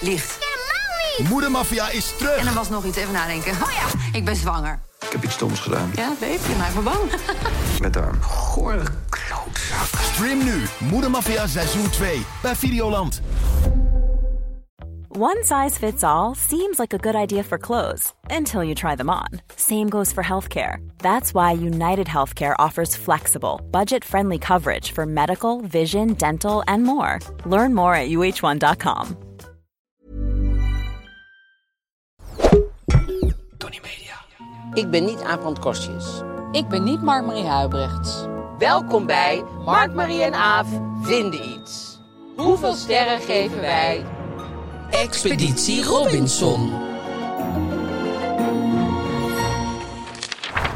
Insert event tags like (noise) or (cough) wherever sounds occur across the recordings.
ligt. Moedermafia is terug. En er was nog iets, even nadenken. Oh ja, ik ben zwanger. Ik heb iets stoms gedaan. Ja, babe, je maakt me bang. Met haar gore klootzak. Stream nu Moedermafia seizoen 2 bij Videoland. One size fits all seems like a good idea for clothes until you try them on. Same goes for healthcare. That's why United Healthcare offers flexible, budget friendly coverage for medical, vision, dental, and more. Learn more at uh1.com. Tony Media. Ik ben niet Aaf Kostjes. Ik ben niet Mark-Marie Huibrechts. Welkom bij Mark, Marie en Aaf vinden iets. Hoeveel sterren geven wij? Expeditie Robinson.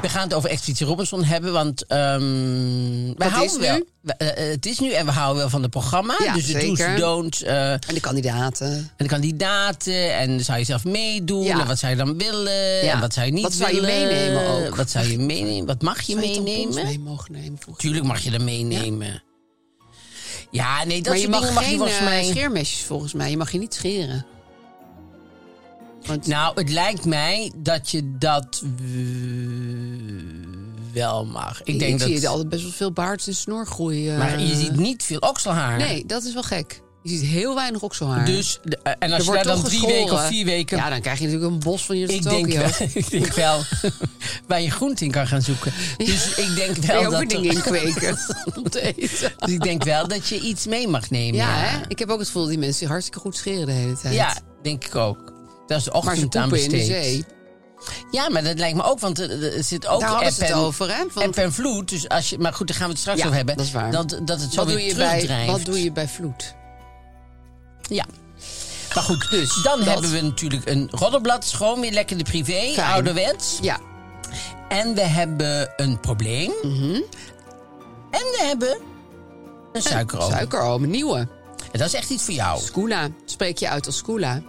We gaan het over Expeditie Robinson hebben, want ehm we houden is wel. nu? we- eh, het is nu en we houden wel van het programma. Ja, dus de zeker. do's, don'ts eh, en En de kandidaten. de kandidaten en zou je zelf meedoen Ja. en wat zou je dan willen Ja. en wat zou je niet Wat zou willen. je meenemen ook? Wat zou je meenemen? Wat mag je Zou je tampons meenemen? mee mogen nemen? vroeger? Tuurlijk mag je dat meenemen. Ja, nee, dat maar je soort mag dingen geen mag je volgens eh, mij... scheermesjes volgens mij. Je mag je niet scheren. Want Nou, het lijkt mij dat je dat eh, wel mag. Ik denk ik dat. zie je altijd best wel veel baard en snor groeien. maar je ziet niet veel okselhaar. eh. Nee, dat is wel gek. Je ziet heel weinig okselhaar. Dus, de- eh, en Er als je wordt daar dan toch drie geschoren. weken of vier weken. Ja, dan krijg je natuurlijk een bos van je ik, (laughs) Tokio. denk, wel- ik denk wel waar je groente in kan gaan zoeken. Dus ik denk Kun wel (laughs) je ook dat. weer dingen in (laughs) kweken om te eten. dus ik denk wel dat je iets mee mag nemen. Ja, hè? ik heb ook het gevoel dat die mensen zich hartstikke goed scheren de hele tijd. Ja, denk ik ook. Dat is de maar ze ochtend aan poepen in de besteed. zee. Ja, maar dat lijkt me ook, want er er zit ook Daar hadden ze app het en- over, hè? Van- app en vloed. Dus als je, maar goed, daar gaan we het straks Ja, over hebben. dat is waar. Dat, dat het zo Wat weer doe, je bij, terugdrijft. wat doe je bij vloed? Ja. Maar goed, dus dan dat. hebben we natuurlijk een roddelblad, schoon weer lekker de privé, Fijn. ouderwets. Ja, En we hebben een probleem. Mhm. En we hebben een suikeroom. suikeroom, een nieuwe. En dat is echt iets voor jou. Skoola, spreek je uit als Skoola.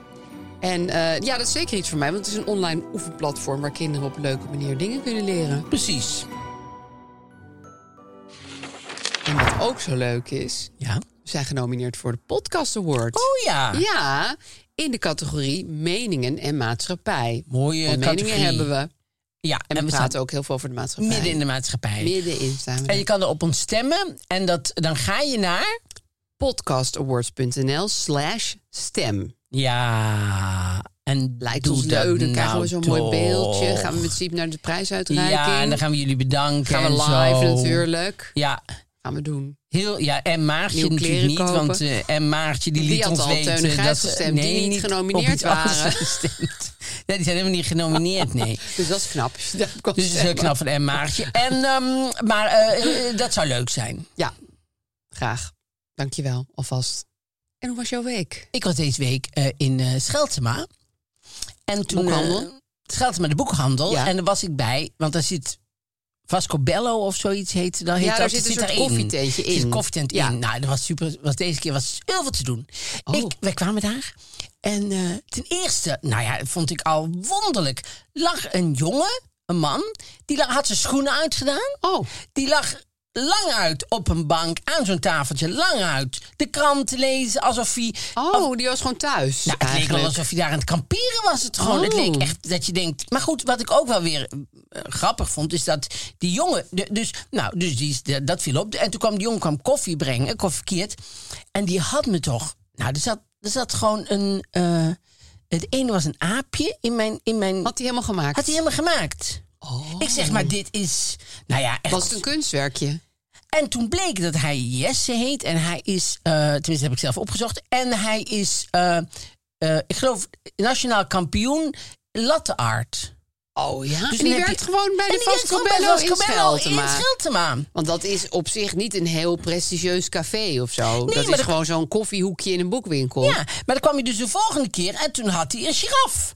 En eh, ja, dat is zeker iets voor mij, want het is een online oefenplatform waar kinderen op een leuke manier dingen kunnen leren. Precies. En wat ook zo leuk is, Ja. we zijn genomineerd voor de Podcast Award. Oh ja. Ja, in de categorie meningen en maatschappij. Mooie Want meningen categorie. hebben we. Ja, En, we, staan praten ook heel veel over de maatschappij. midden in de maatschappij. Middenin staan we. En je kan erop ons stemmen. En dat, dan ga je naar... podcastawards.nl slash stem. Ja, en Lijkt doe ons dat leuk. Dan krijgen nou we zo'n mooi toch. beeldje. Gaan we met Siep naar de prijsuitreiking. Ja, en dan gaan we jullie bedanken. Gaan we en live zo. natuurlijk. Ja, Gaan we doen. heel, ja en Maartje Nieuwe natuurlijk kleren niet, kopen. want eh, en Maartje die, Die liet had ons al Teun en weten Gijs dat ze gestemd, die nee, niet genomineerd op iets anders (laughs) waren. gestemd. Nee, die zijn helemaal niet genomineerd, (laughs) nee. Dus dat is (laughs) knap. als je daarop kan Dus het is heel stemmen. knap van en Maartje. En, ehm, maar eh, eh, dat zou leuk zijn. Ja, graag. Dankjewel, alvast. En hoe was jouw week? Ik was deze week eh, in eh, Scheltema. En toen, Boekhandel? eh, Scheltema, de boekhandel. Ja. En daar was ik bij, want daar zit Vasco Bello of zoiets heet. Dan heet daar dat, zit een soort daarin. koffietentje Zit in. een koffietent Ja. in. Nou, dat was super. Was deze keer was heel veel te doen. Oh. Ik, wij kwamen daar. En eh, ten eerste, nou ja, vond ik al wonderlijk. Lag een jongen, een man, die lag- had zijn schoenen uitgedaan. Oh. Die lag lang uit op een bank, aan zo'n tafeltje, lang uit. De krant te lezen, alsof hij Oh, die was gewoon thuis. nou, het leek wel eigenlijk. alsof je daar aan het kamperen was. Het, gewoon. Oh. het leek echt dat je denkt... Maar goed, wat ik ook wel weer eh, grappig vond... is dat die jongen... de- dus nou, dus die, is- de- dat viel op. En toen kwam die jongen kwam koffie brengen, koffie Kiert. En die had me toch... Nou, er zat, er zat gewoon een... eh, het ene was een aapje in mijn... In mijn Had hij helemaal gemaakt? Oh. had hij helemaal gemaakt. Ik zeg maar, dit is... Nou ja, echt... Was het een kunstwerkje? En toen bleek dat hij Jesse heet. En hij is, eh, tenminste heb ik zelf opgezocht. En hij is, eh, eh, ik geloof, nationaal kampioen latte art. Oh ja, Dus en dan die heb werd je- gewoon bij En de die werd gewoon bij Vascobello in Vascobello Scheltema. in Scheltema. Want dat is op zich niet een heel prestigieus café of zo. dat maar is dat- gewoon zo'n koffiehoekje in een boekwinkel. Ja, maar dan kwam hij dus de volgende keer en toen had hij een giraf.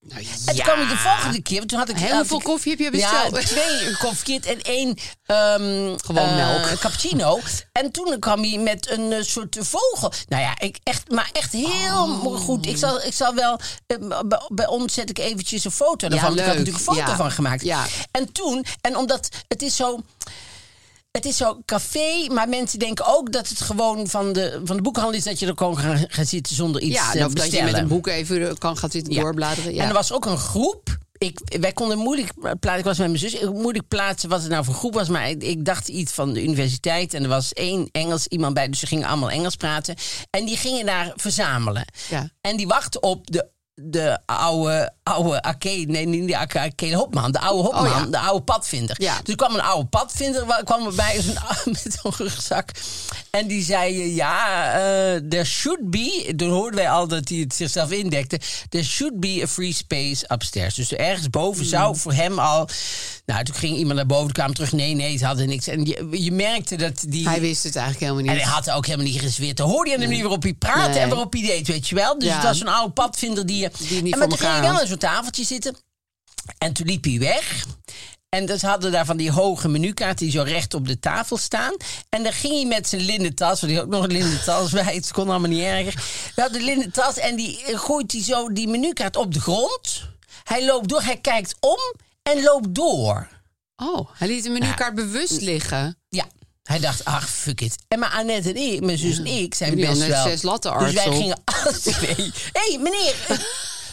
Nou, En toen kwam hij de volgende keer, want toen had ik... Hè, had hoeveel ik- koffie heb je Ja, besteld? (laughs) twee koffiekeert en één... ehm, Gewoon eh, melk. Cappuccino. En toen kwam hij met een eh, soort vogel. Nou ja, ik echt, maar echt heel Oh. goed. Ik zal, ik zal wel... eh, bij, bij ons zet ik eventjes een foto daarvan. want ik had leuk. natuurlijk een foto Ja. van gemaakt. Ja. En toen, en omdat het is zo... het is zo café, maar mensen denken ook dat het gewoon van de, van de boekhandel is dat je er gewoon gaan, gaan zitten zonder iets ja, eh, en of dat je met bestellen. een boek even eh, kan gaan zitten Ja. doorbladeren. Ja. En er was ook een groep. Ik, wij konden moeilijk plaatsen. Ik was met mijn zus. Ik moeilijk plaatsen wat het nou voor groep was. Maar ik, ik dacht iets van de universiteit. En er was één Engels iemand bij. Dus ze gingen allemaal Engels praten. En die gingen daar verzamelen. Ja. En die wachten op de, de oude, oude arcade. Nee, niet de arcade. arcade Hopman. De oude Hopman. Oh ja. De oude padvinder. Ja. Dus er kwam een oude padvinder wa- kwam erbij met zo'n- (laughs) met zo'n rugzak. En die zei, eh, ja, eh, there should be... Toen hoorden wij al dat hij het zichzelf indekte. There should be a free space upstairs. Dus ergens boven zou voor hem al... Nou, toen ging iemand naar boven, kwam terug. Nee, nee, ze hadden niks. En je, je merkte dat die... Hij wist het eigenlijk helemaal en niet. hij had ook helemaal niet gezweerd. Dan hoorde je aan de manier waarop hij praatte Nee. en waarop hij deed, weet je wel. Dus Ja. het was zo'n oude padvinder die... je- Die niet en maar voor toen ging elkaar hij wel had. aan zo'n tafeltje zitten. En toen liep hij weg. En dus hadden daar van die hoge menukaarten die zo recht op de tafel staan. En dan ging hij met zijn linnen tas, want die had ook nog een linnen tas bij, het kon allemaal niet erger. Hij had de linnen tas en die eh, gooit hij zo die menukaart op de grond. Hij loopt door, hij kijkt om en loopt door. Oh, hij liet de menukaart bewust liggen. Ja. Hij dacht, ach, fuck it. En maar Annette en ik, mijn zus en ik, zijn Jullie best hadden net wel... zes latten, Dus wij Artsel. gingen (laughs) alle twee... Hé, hey, meneer!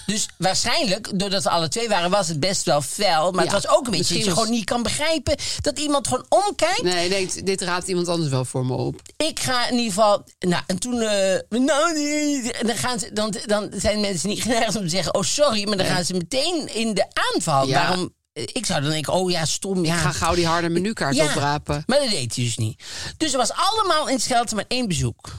Dus waarschijnlijk, doordat we alle twee waren, was het best wel fel. Maar Ja, het was ook een beetje dat misschien je was- gewoon niet kan begrijpen... dat iemand gewoon omkijkt. Nee, hij denkt, dit raapt iemand anders wel voor me op. Ik ga in ieder geval... Nou, en toen... eh, nou, nee, en dan, gaan ze, dan, dan zijn mensen niet geneigd om te zeggen... oh, sorry, maar dan gaan ze meteen in de aanval. Ja. Waarom... Ik zou dan denken, oh ja, stom, ja. Ik ga gauw die harde menukaart oprapen. Maar dat deed hij dus niet. Dus er was allemaal in Schelten maar één bezoek. (laughs)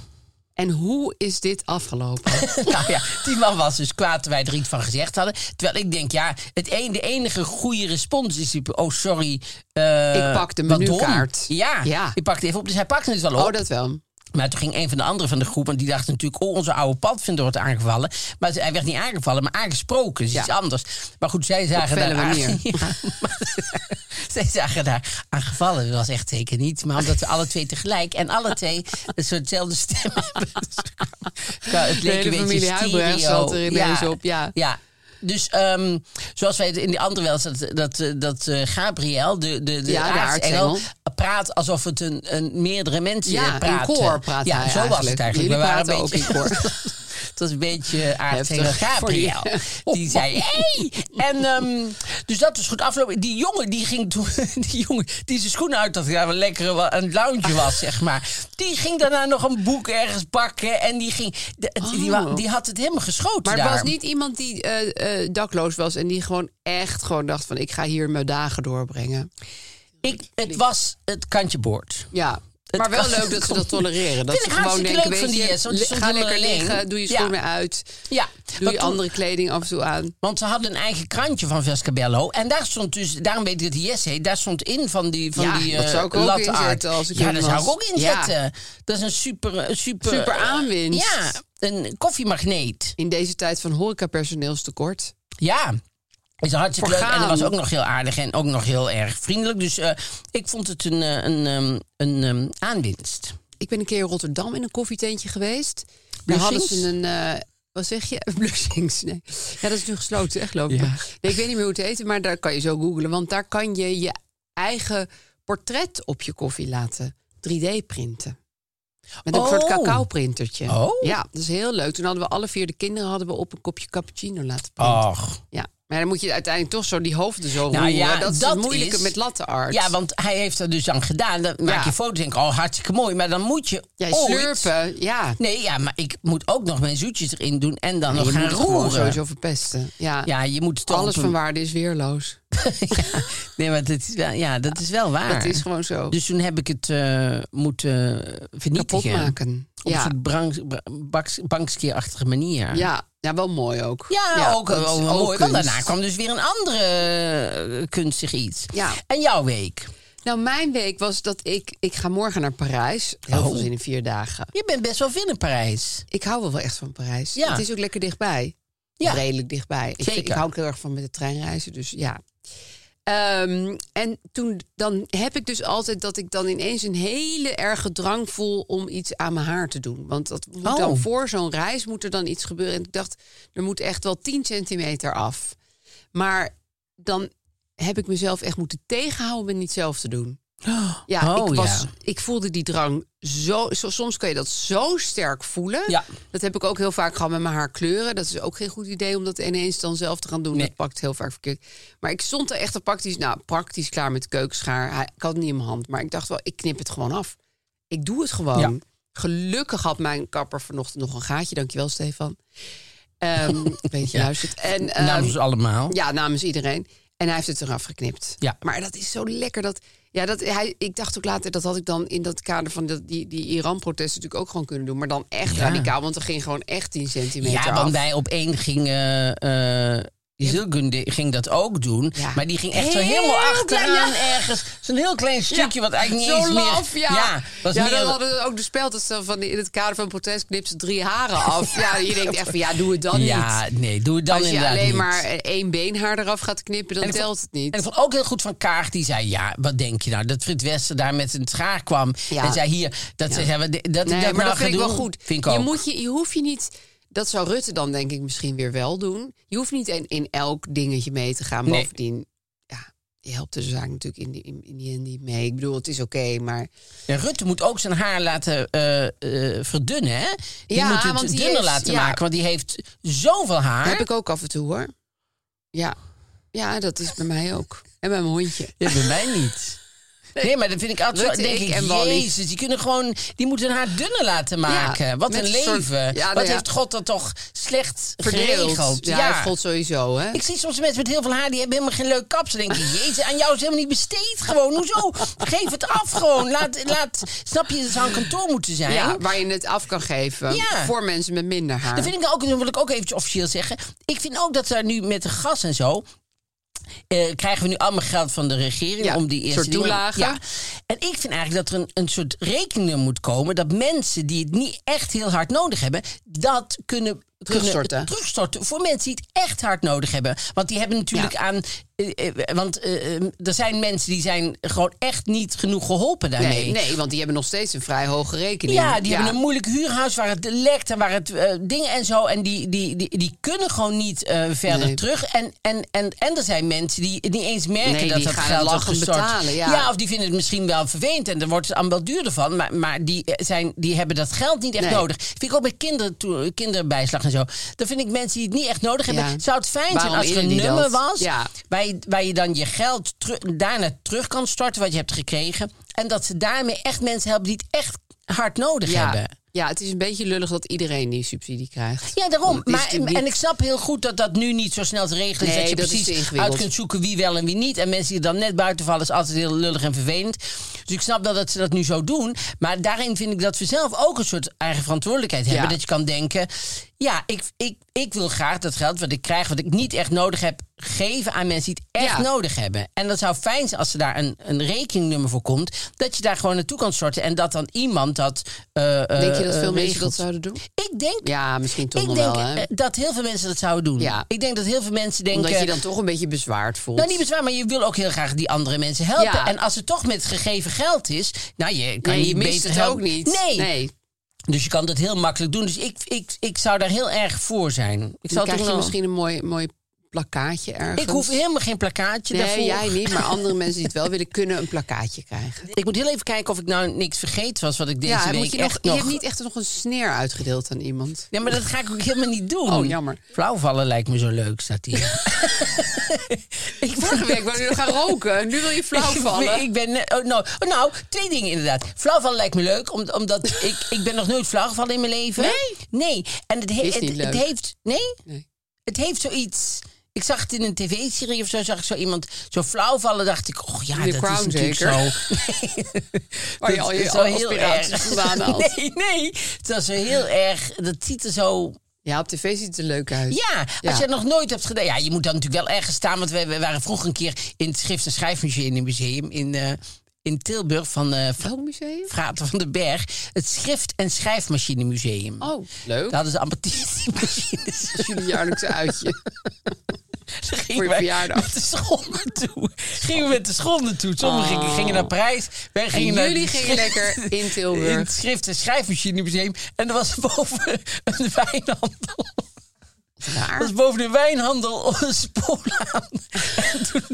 En hoe is dit afgelopen? nou ja, die man was dus kwaad dat wij er iets van gezegd hadden. Terwijl ik denk, ja, het een, de enige goede respons is... die- Oh, sorry. eh, Ik pak de wat dom. menukaart. Ja, Ja. ik pakte even op. Dus hij pakte het wel op. oh, dat wel. Maar toen ging een van de anderen van de groep, want die dacht natuurlijk, oh, onze oude padvinder wordt aangevallen. Maar ze- hij werd niet aangevallen, maar aangesproken. Dus Ja. iets anders. Maar goed, zij zagen felle daar. aan- manier. (laughs) Ja, maar- zij zagen daar aangevallen. Dat was echt zeker niet. Maar omdat we alle twee tegelijk en alle twee een soortzelfde stem (laughs) hebben. Dus- Ja, het De hele familie Huijbrecht zat er ineens op, ja. ja. Dus ehm, zoals wij het in die andere wel eens, dat, dat, eh, dat eh, Gabriel, de, de, de, Ja, de aartsengel, aartsengel. praat alsof het een, een meerdere mensen Ja, eh, in praten. koor praat Ja, hij zo was het eigenlijk. eigenlijk. Jullie waren praten een ook in beetje- (laughs) Het was een beetje aardsengel Heftig voor jullie. Gabriel. (laughs) Die zei, hey! En, ehm, dus dat was goed afgelopen. Die jongen die ging toen, (laughs) die jongen die zijn schoenen uit had gedaan, wat lekker wa- een lounge was, zeg maar. Die ging daarna nog een boek ergens bakken en die ging, de- die, wa- die had het helemaal geschoten Oh. Maar het daar. was niet iemand die eh, eh, dakloos was en die gewoon echt gewoon dacht van... ik ga hier mijn dagen doorbrengen. Ik, het was het kantje boord. Ja, Het maar wel kan- leuk dat ze dat tolereren. Dat Vind ik ze gewoon hartstikke denken, leuk weet van die, je, eh, soort- le- soort ga lekker onderling. liggen, doe je Ja. schoenen uit. Ja, Doe want je toen- andere kleding af en toe aan. Want ze hadden een eigen krantje van Vescabello. En daar stond dus, daarom weet ik dat die yes heet, daar stond in van die van Ja, die dat eh, zou ik ook latte inzetten art. als ik Ja, jong daar zou ik was. ook inzetten. Dat is een super, eh, super... Super eh, aanwinst. Ja, een koffiemagneet. In deze tijd van horecapersoneelstekort. Ja. Is hartstikke leuk. En Vergaan. dat was ook nog heel aardig en ook nog heel erg vriendelijk. Dus eh, ik vond het een, eh, een, ehm, een ehm, aanwinst. Ik ben een keer in Rotterdam in een koffietentje geweest. Daar hadden Blushings? ze een... eh, wat zeg je? (laughs) Blushings, nee. Ja, dat is nu gesloten, echt geloof ik. Nee, ik weet niet meer hoe het heet, maar daar kan je zo googlen. Want daar kan je je eigen portret op je koffie laten 3D-printen. Met een Oh. soort cacao-printertje. Oh. Ja, dat is heel leuk. Toen hadden we alle vier de kinderen hadden we op een kopje cappuccino laten printen. Och. Ja, maar dan moet je uiteindelijk toch zo die hoofden zo Ah. Nou roeren. ja, dat is dat het moeilijke is- met latte art. Ja, want hij heeft dat dus aan gedaan. Dan maak Ja. je foto's en denk ik, oh, hartstikke mooi. Maar dan moet je Jij ooit- slurpen, ja. Nee, ja, maar ik moet ook nog mijn zoetjes erin doen en dan nog je gaan moet het gewoon roeren. sowieso verpesten. Ja, Ja, je moet het alles op een- van waarde is weerloos. (laughs) ja, nee, maar dat is wel, ja, dat is wel waar. Dat is gewoon zo. Dus toen heb ik het eh, moeten vernietigen. kapot maken. Op Ja. een soort bankskierachtige manier. Ja. ja, wel mooi ook. Ja, ook, dat is wel mooi. Want kunst. daarna kwam dus weer een andere eh, kunstig iets. Ja. En jouw week? Nou, mijn week was dat ik... Ik ga morgen naar Parijs. Heel Oh. veel zin in vier dagen. Je bent best wel veel in Parijs. Ik hou wel wel echt van Parijs. Ja. Het is ook lekker dichtbij. Ja. Redelijk dichtbij. Ik, Zeker. ik hou ook heel erg van met de trein reizen, dus ja. Ehm, en toen dan heb ik dus altijd dat ik dan ineens een hele erge drang voel om iets aan mijn haar te doen. Want dat moet Oh. dan voor zo'n reis moet er dan iets gebeuren. En ik dacht, er moet echt wel 10 centimeter af. Maar dan heb ik mezelf echt moeten tegenhouden om het niet zelf te doen. Ja, Oh, ik, was, ja. ik voelde die drang zo, zo. Soms kun je dat zo sterk voelen. Ja. Dat heb ik ook heel vaak gehad met mijn haar kleuren. Dat is ook geen goed idee om dat ineens dan zelf te gaan doen. Dat pakt heel vaak verkeerd. Maar ik stond er echt al praktisch, nou, praktisch klaar met de keukenschaar. Hij- Ik had het niet in mijn hand. Maar ik dacht wel, ik knip het gewoon af. Ik doe het gewoon. Ja. Gelukkig had mijn kapper vanochtend nog een gaatje. Dankjewel, Stefan. Ehm (laughs) ik weet dat je Ja. Nou, luistert. En, ehm, Namens ons dus allemaal. ja, namens iedereen. En hij heeft het eraf geknipt. Ja. Maar dat is zo lekker. Dat, ja, dat, hij, ik dacht ook later, dat had ik dan in dat kader van dat, die, die Iran-protesten natuurlijk ook gewoon kunnen doen. Maar dan echt Ja. radicaal, want er ging gewoon echt 10 centimeter Ja, af. want wij op één gingen. eh Zilgunde ging dat ook doen. Ja. Maar die ging echt zo Heel helemaal klein, achteraan ja. ergens. Zo'n heel klein stukje wat eigenlijk niet Zo eens meer... laf, ja. Ja, was ja, meer... dan hadden we ook de speld. Dat ze van, in het kader van protest knipt ze drie haren af. Ja, je denkt echt van, ja, doe het dan ja, niet. nee, doe het dan Als je inderdaad alleen niet. maar eh, één beenhaar eraf gaat knippen, dan En ik telt vond- het niet. En ik vond ook heel goed van Kaag, die zei... Ja, wat denk je nou? Dat Frits Wester daar met zijn schaar kwam. Ja. En zei hier... Dat ze zei, wat- dat, ik Nee, dat maar nou dat ga vind ik wel doen, goed. Vind ik je, ook. moet je, je hoeft je niet. Dat zou Rutte dan denk ik misschien weer wel doen. Je hoeft niet in, in elk dingetje mee te gaan. Nee. Bovendien, ja, je helpt de zaak natuurlijk in die, in, in die en die mee. Ik bedoel, het is oké, maar Ja, Rutte moet ook zijn haar laten eh, eh, verdunnen, hè? Die Ja, moet het want die dunner heeft- laten ja. maken, want die heeft zoveel haar. heb ik ook af en toe hoor. Ja, ja dat is bij mij ook. En bij mijn hondje. Ja, bij mij (laughs) niet. Nee. maar dat vind ik altijd Rutte, zo, denk ik ik, en Wally. Jezus, die kunnen gewoon, die moeten haar dunner laten maken. Wat met een een leven. soort- ja, Wat nou ja. heeft God dat toch slecht Verdreeld. geregeld? Ja, dat gold sowieso, hè? Ik zie soms mensen met heel veel haar, die hebben helemaal geen leuk kapsel. Dan denk ik, jezus, aan jou is helemaal niet besteed gewoon. Hoezo? Geef het af gewoon. Laat, laat, snap je, dat zou een kantoor moeten zijn. ja, waar je het af kan geven Ja. voor mensen met minder haar. Dat vind ik nou ook, dat wil ik ook eventjes officieel zeggen. Ik vind ook dat daar nu met de gas en zo. eh, krijgen we nu allemaal geld van de regering Ja, om die eerste soort dingen- toelagen. Ja. En ik vind eigenlijk dat er een, een soort rekening moet komen dat mensen die het niet echt heel hard nodig hebben, dat kunnen Terugstorten. kunnen terugstorten voor mensen die het echt hard nodig hebben. Want die hebben natuurlijk Ja. aan. eh, eh, want eh, eh, er zijn mensen die zijn gewoon echt niet genoeg geholpen daarmee. nee, nee, want die hebben nog steeds een vrij hoge rekening. Ja, die hebben een moeilijk huurhuis waar het lekt en waar het eh, dingen en zo. En die, die, die, die kunnen gewoon niet eh, verder Nee. terug. En, en, en, en er zijn mensen die niet eens merken Nee, dat die dat gaan geld wordt lachend gestort. betalen, ja. of die vinden het misschien wel vervelend en daar wordt het allemaal wel duurder van. Maar, maar die, eh, zijn, die hebben dat geld niet echt Nee. nodig. Vind ik ook bij kinderen, toe- kinderbijslag en zo. Dan vind ik mensen die het niet echt nodig hebben. Ja. Zou het fijn zijn Waarom als er een innen die nummer dat? was Ja. waar je, waar je dan je geld teru- daarna terug kan storten wat je hebt gekregen. En dat ze daarmee echt mensen helpen die het echt hard nodig ja, hebben. ja, het is een beetje lullig dat iedereen die subsidie krijgt. Ja, daarom. is Maar, natuurlijk niet- en ik snap heel goed dat dat nu niet zo snel te regelen is. Nee, dat je dat is te precies ingewikkeld. uit kunt zoeken wie wel en wie niet. En mensen die dan net buiten vallen is altijd heel lullig en vervelend. Dus ik snap wel dat ze dat nu zo doen. Maar daarin vind ik dat we zelf ook een soort eigen verantwoordelijkheid hebben. Ja. Dat je kan denken, ja, ik, ik, ik wil graag dat geld wat ik krijg, wat ik niet echt nodig heb, geven aan mensen die het echt Ja. nodig hebben. En dat zou fijn zijn als er daar een, een rekeningnummer voor komt. Dat je daar gewoon naartoe kan sorten. En dat dan iemand dat eh, eh, Denk je dat eh, veel mensen regelt. dat zouden doen? Ik denk Ja, misschien toch ik nog denk wel. Hè? eh, dat heel veel mensen dat zouden doen. Ja. Ik denk dat heel veel mensen denken... Omdat je dan toch een beetje bezwaard voelt. nou, niet bezwaar, maar je wil ook heel graag die andere mensen helpen. Ja. En als het toch met gegeven geld is, nou, je kan Nee, niet je mist beter het helpen. ook niet. Nee. nee. dus je kan dat heel makkelijk doen. Dus ik, ik, ik zou daar heel erg voor zijn. Ik, Dan zou krijg toch je wel- misschien een mooi, mooi plakkaatje ergens. ik hoef helemaal geen plakkaatje daarvoor. Nee, jij niet, maar (laughs) andere mensen die het wel willen, kunnen een plakkaatje krijgen. Ik moet heel even kijken of ik nou niks vergeten was wat ik deze ja, week moet je, nog, echt je nog... hebt niet echt nog een sneer uitgedeeld aan iemand. Ja, maar dat ga ik ook helemaal niet doen. Oh, jammer. Flauwvallen lijkt me zo leuk, staat (laughs) hier. ik Vorige week wou je nog gaan roken en nu wil je flauw Ik- vallen. Ik ben, eh, oh, nou, oh, nou, twee dingen inderdaad. Flauwvallen lijkt me leuk, om- omdat (laughs) ik, ik ben nog nooit flauwgevallen in mijn leven. Nee? Nee. En het, he- Is het, niet het leuk. heeft... Nee? Nee. Het heeft zoiets... Ik zag het in een tv-serie of zo, zag ik zo iemand zo flauwvallen. dacht ik, oh ja, The dat Crown is natuurlijk (laughs) zeker? zo... Nee. Waar je Dat al je is wel aspiraties vandaan (laughs) haalt. Nee, nee. Het was zo heel erg... Dat ziet er zo... Ja, op tv ziet het er leuk uit. Ja, als Ja. je dat nog nooit hebt gedaan. Ja, je moet dan natuurlijk wel ergens staan. Want we, we waren vroeger een keer in het Schrift- en Schrijfmuseum in, museum in, eh, in Tilburg van eh Fra- Welk museum? Frater van den Berg. Het Schrift- en Schrijfmachinemuseum. Oh, leuk. Daar hadden ze amputatiemachines. Dat is jullie jaarlijkse (laughs) uitje. Daar gingen (laughs) Voor je wij verjaardag. Met de school naartoe. Gingen we met de school naartoe. Sommigen gingen- gingen naar Parijs. Wij gingen naar Oh. jullie het gingen Schrift- lekker in Tilburg. (laughs) In het Schrift- en Schrijfmachinemuseum. En er was boven een wijnhandel. maar. was boven de wijnhandel (laughs) op een spoorlaan. en, toen,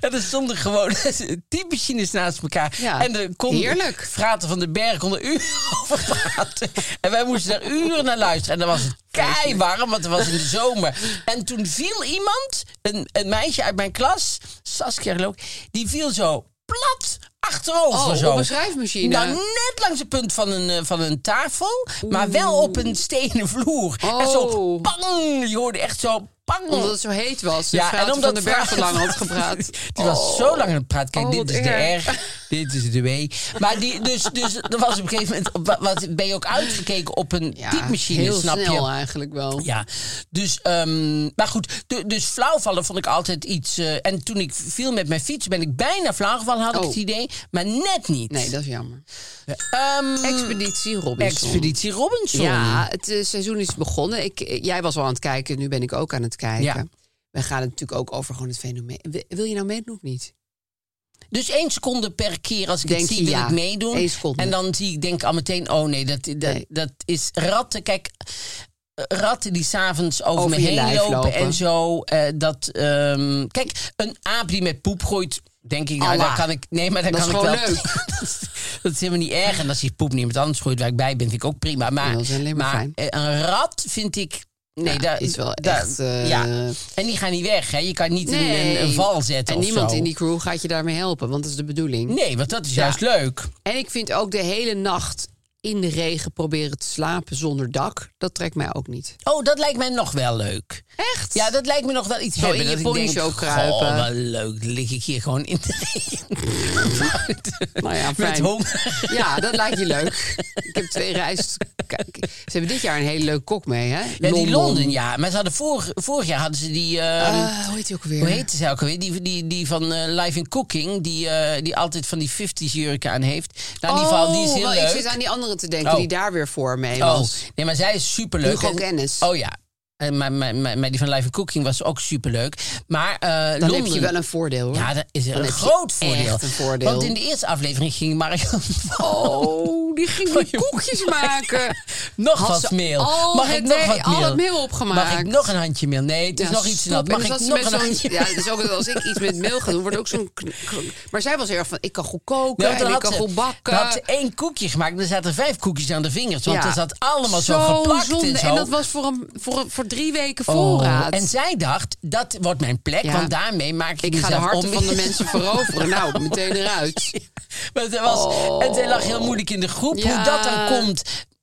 en er stonden gewoon (laughs) typemachines naast elkaar. Ja, en er kon heerlijk. Fraten van den Berg kon er uren (laughs) over praten. En wij moesten daar uren naar luisteren. En dan was het kei warm, want het was in de zomer. En toen viel iemand, een, een meisje uit mijn klas, Saskia geloof ik, die viel zo plat achterover. Oh, zo. op een schrijfmachine. Nou, net langs het punt van een, eh, van een tafel, maar wel op een stenen vloer. En zo Oh. pang, je hoorde echt zo pang. Omdat het zo heet was. Dus ja, en en omdat Van de Berg te Frater- lang had gepraat. (laughs) Die was zo lang aan het praten. Kijk, Oh, dit wat is de erg. R, dit is de W. Maar die, dus, dus er was op een gegeven moment... op wa- Wat, ben je ook uitgekeken op een Ja, typemachine, heel snap je? snel eigenlijk wel. Ja, dus, ehm, maar goed, du- dus flauwvallen vond ik altijd iets. eh, en toen ik viel met mijn fiets, ben ik bijna flauwgevallen, had ik Oh. het idee. Maar net niet. Nee, dat is jammer. Ehm, Expeditie Robinson. Expeditie Robinson. Ja, het eh, seizoen is begonnen. Ik, eh, jij was al aan het kijken, nu ben ik ook aan het kijken. Ja. We gaan het natuurlijk ook over gewoon het fenomeen. Wi- Wil je nou meedoen of niet? Dus één seconde per keer als ik Denk het je zie, wil ja. ik meedoen. Eén seconde. En dan zie ik denk ik al meteen, oh nee, dat, dat, Nee. dat is ratten. Kijk, ratten die s'avonds over, Over me je heen lijf lopen, lopen. en zo. eh, dat, ehm, kijk, een aap die met poep gooit, denk ik, nou, Allah. daar kan ik... Nee, maar daar Dat kan is ik wel... gewoon leuk. (laughs) dat, is, dat is helemaal niet erg. En als die poep niet met anders gooit waar ik bij ben, vind ik ook prima. Maar, Ja, dat is alleen maar fijn. eh, een rat vind ik... Nee, Ja, daar, is wel daar- echt, eh, ja. En die gaan niet weg, hè. Je kan niet een- een, een val zetten En of niemand zo. in die crew gaat je daarmee helpen, want dat is de bedoeling. Nee, want dat is Ja. juist leuk. En ik vind ook de hele nacht in de regen proberen te slapen zonder dak. Dat trekt mij ook niet. Oh, dat lijkt mij nog wel leuk. Echt? Ja, dat lijkt me nog wel iets Zo hebben. in je dat ik denk, poncho goh, kruipen. wat leuk. Dan lig ik hier gewoon in de (laughs) regen. Nou ja, Met fijn. (laughs) honger. Ja, dat lijkt je leuk. Ik heb twee reis. Kijk, ze hebben dit jaar een hele leuke kok mee, hè? Ja, die Londen, ja. Maar ze hadden vorig, vorig jaar hadden ze die... eh, Eh, hoe heet die ook weer? Hoe heette ze ook alweer? Die, die, die van eh, Live in Cooking, die, eh, die altijd van die 50s jurken aan heeft. Nou, in ieder geval, die is heel wel, leuk. Oh, Ik zit aan die andere te denken Oh. die daar weer voor mee Oh, was. nee, maar zij is superleuk. Hugo En- Kennis. Oh ja. En, maar, maar, maar, maar die van Live in Cooking was ook superleuk. Maar eh Dan Londen... heb je wel een voordeel, hoor. Ja, dat is Dan een heb je groot voordeel. Echt een voordeel. Want in de eerste aflevering ging (laughs) Marion Oh, die ging die koekjes (laughs) maken. nog Had wat ze meel. al Mag het ik nog he- wat al meel? het meel opgemaakt? Mag ik nog een handje meel? Nee, het is Ja, nog iets te nat. stop. Mag En ik dan zat ze nog met een zo'n- handje? Ja, dat is ook als ik iets met meel ga doen, wordt ook zo'n... kn- kn- Maar zij was heel erg van, ik kan goed koken Nou, en ik had kan ze- goed dan had ze bakken. één koekje gemaakt en er zaten vijf koekjes aan de vingers. Want Ja. er zat allemaal zo, Zo'n geplakt zonde. en zo. dat was voor, een, voor, een- voor drie weken Oh, voorraad. En zij dacht, dat wordt mijn plek, Ja. want daarmee maak ik, ik ga de mezelf harten om. van de mensen (laughs) veroveren. Nou, meteen eruit. Maar het was, en zij lag heel moeilijk in de groep. Hoe Oh. Ja. dat dan komt,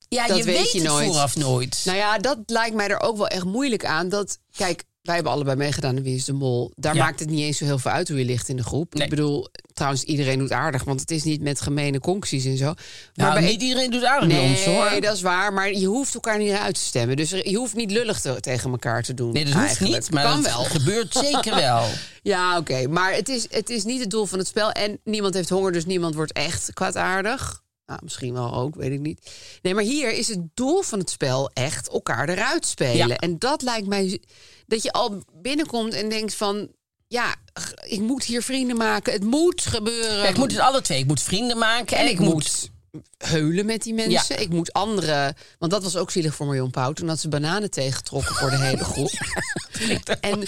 ja, Dat je weet weet, je het nooit. vooraf nooit. Nou ja, dat lijkt mij er ook wel echt moeilijk aan. Dat, kijk, wij hebben allebei meegedaan in Wie is de Mol. Daar Ja. maakt het niet eens zo heel veel uit hoe je ligt in de groep. Nee. Ik bedoel, trouwens, iedereen doet aardig. Want het is niet met gemene concties en zo. Maar Nou, bij- niet iedereen doet aardig bij Nee, ons, hoor. dat is waar. Maar je hoeft elkaar niet uit te stemmen. Dus er- je hoeft niet lullig te- tegen elkaar te doen. Nee, dat hoeft eigenlijk. niet, maar kan dat wel. gebeurt (laughs) zeker wel. Ja, oké. Maar het is, het is niet het doel van het spel. En niemand heeft honger, dus niemand wordt echt kwaadaardig. Nou, misschien wel ook, weet ik niet. Nee, maar hier is het doel van het spel echt elkaar eruit spelen. Ja. En dat lijkt mij... Dat je al binnenkomt en denkt van... Ja, g- ik moet hier vrienden maken. Het moet gebeuren. Ja, ik moet het alle twee. Ik moet vrienden maken en, ik moet... heulen met die mensen. Ik moet anderen... Want dat was ook zielig voor Marion Pauw. Toen had ze bananen tegengetrokken voor de hele (laughs) groep. en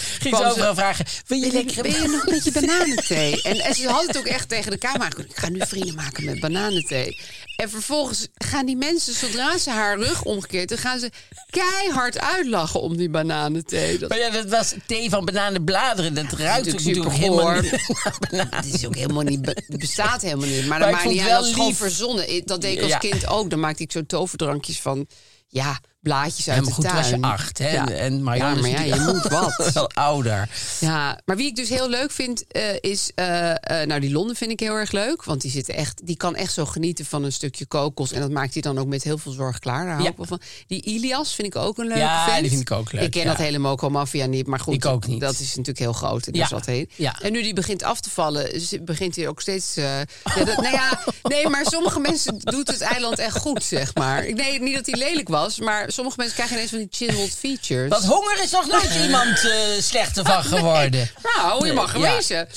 Ging ze kwam overal vragen, wil je lekker... ben je nog met je bananenthee? En, en ze had het ook echt tegen de camera. gezegd, Ik ga nu vrienden maken met bananenthee. En vervolgens gaan die mensen, zodra ze haar rug omgekeerd... dan gaan ze keihard uitlachen om die bananenthee. (laughs) Dat Maar ja, dat was thee van bananenbladeren. Dat ruikt ook natuurlijk natuurlijk helemaal supergoor. niet (laughs) naar bananen. Het is ook helemaal niet, be- het bestaat helemaal niet. Maar, Maar dat ik maakt vond niet uit, wel dat is gewoon lief. verzonnen. Ik- Dat deed ik als Ja. kind ook. Dan maakte ik zo toverdrankjes van, ja, blaadjes uit Ja, de maar goed, toen tuin. was je acht. Hè? Ja. En- En Marion ja, maar ja, is je moet natuurlijk (laughs) wat. wel ouder. Ja, maar wie ik dus heel leuk vind eh, is... eh, eh, nou, die Londen vind ik heel erg leuk. Want die, zit echt, die kan echt zo genieten van een stukje kokos. En dat maakt hij dan ook met heel veel zorg klaar. Daar hou Ja. ik wel van. Die Ilias vind ik ook een leuke Ja, vent. die vind ik ook leuk, Ik ken ja. dat hele Moco Mafia niet. Maar goed, Ik ook niet. dat is natuurlijk heel groot. En Ja, daar zat heen. ja. En nu die begint af te vallen, ze- begint hij ook steeds... eh, ja, dat, nou (laughs) ja, nee, maar sommige mensen doet het eiland echt goed, zeg maar. Ik- Nee, niet dat hij lelijk was. Maar sommige mensen krijgen ineens van die chiseled features. Want honger is nog (laughs) nooit iemand eh, slechter van geworden. Nou, je mag Nee, er ja. wezen.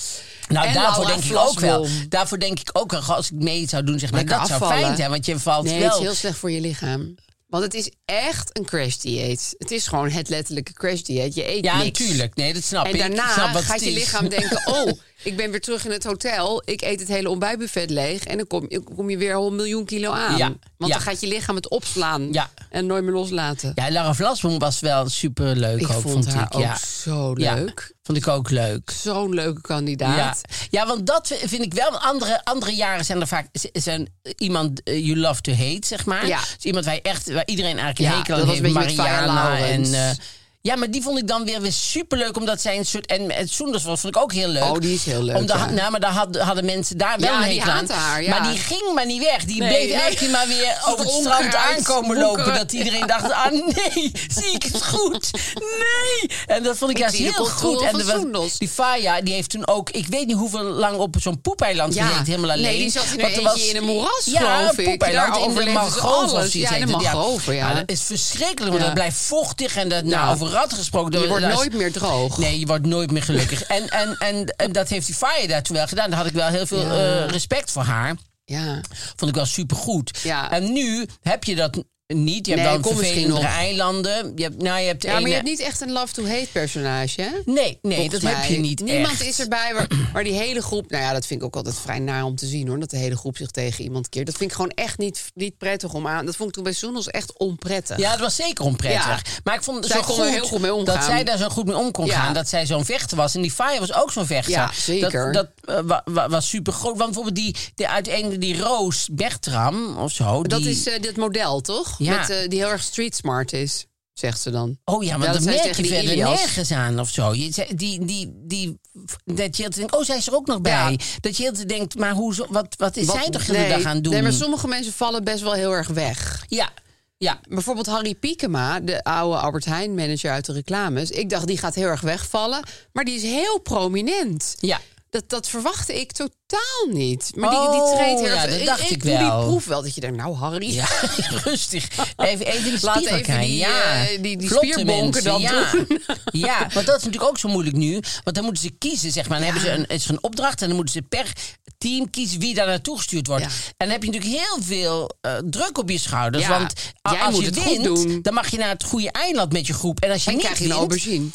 Nou, En daarvoor Laura denk ik ook wel. Vlasbom. Daarvoor denk ik ook wel, als ik mee zou doen, zeg maar, Lekker dat zou afvallen. fijn zijn. Want je valt Nee, het wel is heel slecht voor je lichaam. Want het is echt een crash dieet. Het is gewoon het letterlijke crash dieet. Je eet Ja, niks. natuurlijk. Nee, dat snap ik. En Ik snap daarna wat gaat het je is. lichaam denken: (laughs) oh, ik ben weer terug in het hotel. Ik eet het hele ontbijtbuffet leeg. En dan kom, kom je weer al een miljoen kilo aan. Ja, Want ja. dan gaat je lichaam het opslaan Ja. en nooit meer loslaten. Ja, Lara Vlasboom was wel super leuk ik ook, vond, vond haar ik. ook ja. zo Ja, leuk. vond ik ook leuk. Zo'n leuke Ja. kandidaat. ja, want dat vind ik wel. want Andere, andere jaren zijn er vaak z- zijn iemand eh, you love to hate, zeg maar. Ja. Dus iemand waar, je echt, waar iedereen eigenlijk een Ja, hekel dat aan was heeft. een beetje met Fire Mariana en... Laurens. eh, ja, maar die vond ik dan weer, weer superleuk, omdat zij een soort... En het Soenders was, vond ik ook heel leuk. Oh, die is heel leuk, Omdat, ja. Nou, maar daar had- hadden mensen daar wel Ja, een die hekel aan. haatte haar, ja. Maar die ging maar niet weg. Die Nee, bleef nee. eigenlijk maar (laughs) weer over het strand Onkruid, aankomen woekeren. lopen. Dat iedereen dacht, ah nee, zie ik het goed? Nee! En dat vond ik, Ik juist zie de heel controle goed. En van er was- Soenders. die Faya, die heeft toen ook, ik weet niet hoeveel lang op zo'n poepeiland Ja. gezeten, helemaal alleen. Nee, die zat in een Want er eentje in een moeras, ja, geloof een ik. poepeiland Daar in de overleefden ze mangroven. alles. of zoiets Ja, in heet de het, mangroven, ja. dat is verschrikkelijk, want Ja. dat blijft vochtig en dat, nou, Ja. over rat gesproken. dat- Je wordt dat is- nooit meer droog. Nee, je wordt nooit meer gelukkig. en, en, en, en dat heeft die Faya daar toen wel gedaan. Daar had ik wel heel veel Ja. eh, respect voor haar. Ja. Vond ik wel supergoed. Ja. En nu heb je dat niet. Je hebt Nee, dan kom misschien vervelendere nog. eilanden. Je hebt, nou, je hebt ja, maar ene- je hebt niet echt een love-to-hate personage, hè? Nee, nee dat Volgens heb mij. je niet Niemand echt. is erbij waar, waar die hele groep... Nou ja, dat vind ik ook altijd vrij naar om te zien, hoor. Dat de hele groep zich tegen iemand keert. Dat vind ik gewoon echt niet, niet prettig om aan... Dat vond ik toen bij Soenels echt onprettig. Ja, het was zeker onprettig. Ja. Maar ik vond het Zij zo kon goed, er heel goed mee omgaan. dat zij daar zo goed mee om kon Ja. gaan. Dat zij zo'n vechter was. En die Fire was ook zo'n vechter. Ja, zeker. Dat, dat eh, wa- wa- was super groot. Want bijvoorbeeld die, die uiteindelijk die Roos Bertram of zo. Dat die- is eh, dit model, toch? Ja. Met, eh, die heel erg street smart is, zegt ze dan. Oh ja, Ja, want dat dat zei ze merk je tegen E die verder Ilias. nergens aan of zo. Je, zei- die, die, die, dat je altijd denkt, oh, zij is er ook nog bij. Ja. Dat je altijd denkt, maar hoe, zo- wat, wat is Wat- zij toch de hele nee, dag aan het doen? Nee, maar sommige mensen vallen best wel heel erg weg. Ja, ja. Bijvoorbeeld Harry Piekema, de oude Albert Heijn manager uit de reclames. Ik dacht, die gaat heel erg wegvallen. Maar die is heel prominent. Ja. Dat, dat verwachtte ik totaal niet. Maar die, Oh, die treedt heel ja, erg- dat dacht ik doe wel. Die proef wel dat je denkt, nou Harry... Ja, (laughs) rustig. Even, even die Laat spier even kijken. die, ja. eh, die- die Vlotte spierbonken mensen, dan ja. doen. (laughs) Ja, want dat is natuurlijk ook zo moeilijk nu. Want dan moeten ze kiezen, zeg maar. Dan hebben ze een, is er een opdracht en dan moeten ze per team kiezen wie daar naartoe gestuurd wordt. Ja. En dan heb je natuurlijk heel veel eh, druk op je schouders. Ja, Want a- jij als moet je het goed wint, doen. dan mag je naar het goede eiland met je groep. En als je En niet krijg je een wint, aubergine.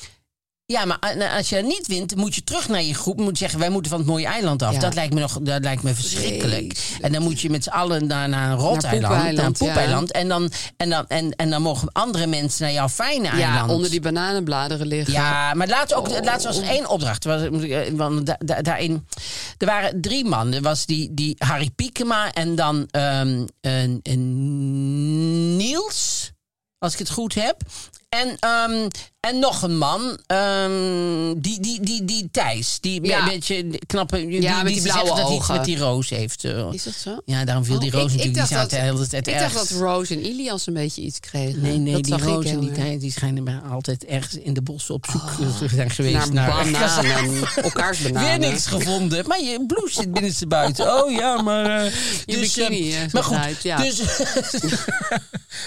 ja, maar a- als je dat niet wint, moet je terug naar je groep. Moet zeggen, wij moeten van het mooie eiland af. Ja. Dat, lijkt me nog, dat lijkt me verschrikkelijk. Vreselijk. En dan moet je met z'n allen naar, naar een rot Naar eiland. poepeiland, Naar een ja. poepeiland. En, dan, en, dan, en, en dan mogen andere mensen naar jouw fijne Ja, eiland. onder die bananenbladeren liggen. Ja, maar laatst, ook, laatst was er één opdracht. Was- eh, Want da- da- daarin, er waren drie mannen. Er was die, die Harry Piekema en dan ehm, een, een Niels, als ik het goed heb. En, ehm, en nog een man, ehm, die, die, die, die Thijs. Die Ja. een beetje knappe... Ja, die, met die ze zeggen dat blauwe hij iets ogen. met die roos heeft. eh. Is dat zo? Ja, daarom viel die Oh, roos ik- ik natuurlijk. dacht die zaten dat- de hele tijd Ik dacht ergens. dat Rose en Ilias een beetje iets kregen. Nee, nee, dat die zag roos ik eh, en die heel erg. Oh, tijd die schijnen maar altijd ergens in de bossen op zoek eh, zijn Naar geweest. (laughs) bananen, elkaars Weer bananen. niks gevonden. Maar je blouse zit binnenste buiten. Oh ja, maar... eh, Je bikini, eh, eh, maar zat goed, uit, ja. dus... (laughs)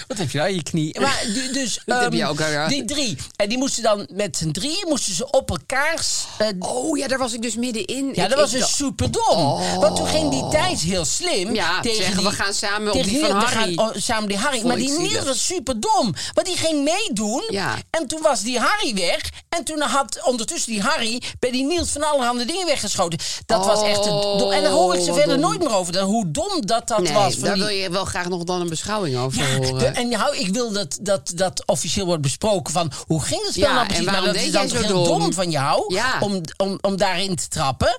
Wat heb je nou in je knie? Maar, du- dus, Dat heb ehm, je ook, ja, ja. Die drie. En die moesten dan met z'n drieën moesten ze op elkaars... eh, Oh ja, daar was ik dus middenin. ja, Ik- dat was ik dus dacht- Oh. super dom. Want toen ging die Thijs heel slim. Ja, tegen zeggen, die, we gaan samen op tegen die van we Harry. gaan, oh, samen die Harry. Vond Maar ik die Niels zielig. was super dom. Want die ging meedoen. Ja. En toen was die Harry weg. En toen had ondertussen die Harry bij die Niels van allerhande dingen weggeschoten. Dat was echt een dom. En daar hoor ik ze Oh, wat verder dom. nooit meer over. dat- Hoe dom dat dat Nee, was. van daar die- wil je wel graag nog dan een beschouwing over ja, horen. de- en jou, ik wil dat, dat dat officieel wordt besproken van hoe ging het spel Ja, nou en precies? Maar waarom dat deed is dan jij toch zo heel dom? dom, van jou Ja. om, om, om daarin te trappen.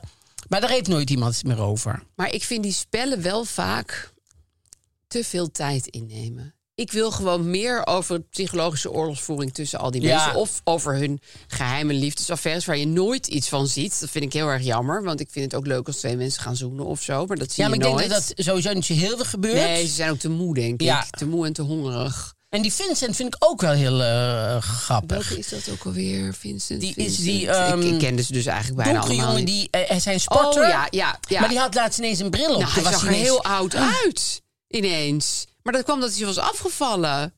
Maar daar heeft nooit iemand het meer over. Maar ik vind die spellen wel vaak te veel tijd innemen. Ik wil gewoon meer over psychologische oorlogsvoering tussen al die Ja. mensen. Of over hun geheime liefdesaffaires waar je nooit iets van ziet. Dat vind ik heel erg jammer. Want ik vind het ook leuk als twee mensen gaan zoenen of zo. Maar dat zie Ja, maar je ik nooit. denk dat dat sowieso niet zo heel veel gebeurt. Nee, ze zijn ook te moe, denk Ja. ik. Te moe en te hongerig. En die Vincent vind ik ook wel heel eh, grappig. Welke is dat ook alweer, Vincent? Die is Vincent? die, ik, ehm, ik kende ze dus eigenlijk bijna Donkere allemaal jongen, niet. die, eh, hij zijn sporter. Oh, ja, ja, ja. Maar die had laatst ineens een bril op. Toen Nou, hij was zag er ineens- Ah. heel oud uit, ineens. Maar dat kwam dat hij was afgevallen.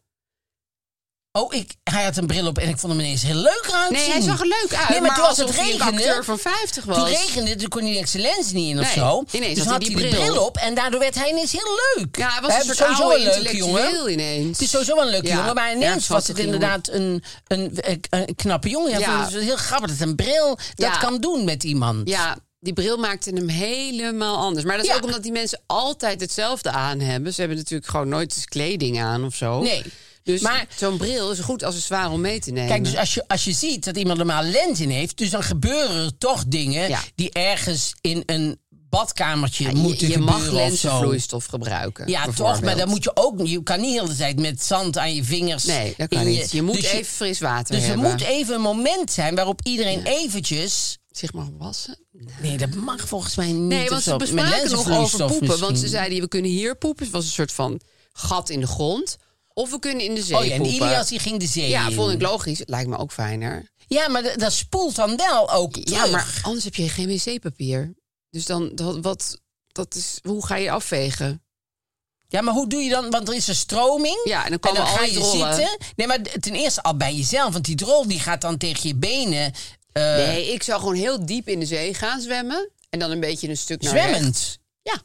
Oh, ik, hij had een bril op en ik vond hem ineens heel leuk eruit Nee, zien. hij zag er leuk uit. Nee, maar, toen was het alsof hij een regende. acteur van 50 was. Toen regende, toen kon hij de excellentie niet in of Nee, zo. ineens had dus hij had die hij die bril. bril op en daardoor werd hij ineens heel leuk. Ja, hij was Hij een is soort oude sowieso een leuke intellectueel jongen. ineens. Het is sowieso wel een leuke Ja, jongen, maar erg ineens was schattige het inderdaad een, een, een, een knappe jongen. Ja, Ja. vond het heel grappig dat een bril dat Ja. kan doen met iemand. Ja, die bril maakte hem helemaal anders. Maar dat is Ja. ook omdat die mensen altijd hetzelfde aan hebben. Ze hebben natuurlijk gewoon nooit kleding aan of zo. Nee. Dus Maar- zo'n bril is goed accessoire om mee te nemen. Kijk, dus als je, als je ziet dat iemand normaal lens in heeft, dus dan gebeuren er toch dingen Ja. die ergens in een badkamertje Ja, je- moeten je, gebeuren mag of zo. lenzenvloeistof gebruiken. Ja, toch, bijvoorbeeld. maar dan moet je ook niet. Je kan niet heel de tijd met zand aan je vingers. Nee, dat kan in niet. Je moet dus even fris water Dus er hebben. moet even een moment zijn waarop iedereen eventjes. Zich maar wassen. Nee, dat mag volgens mij niet. Nee, want of ze zo. Met bespraken nog over lenzenvloeistof poepen. Want ze misschien. zeiden, we kunnen hier poepen. Het was een soort van gat in de grond. Of we kunnen in de zee Oh ja, en poepen. Ilias die ging de zee Ja, in. vond ik logisch. Lijkt me ook fijner. Ja, maar dat- dat spoelt dan wel ook Ja, terug. maar anders heb je geen wc-papier. Dus dan, dat, wat, dat is, hoe ga je afvegen? Ja, maar hoe doe je dan? Want er is een stroming. Ja, en dan komen al ga die je rollen. zitten. Nee, maar d- ten eerste al bij jezelf. Want die drol die gaat dan tegen je benen. eh, nee, nou ik zou gewoon heel diep in de zee gaan zwemmen. En dan een beetje een stuk naar rechts. zwemmend. Ja,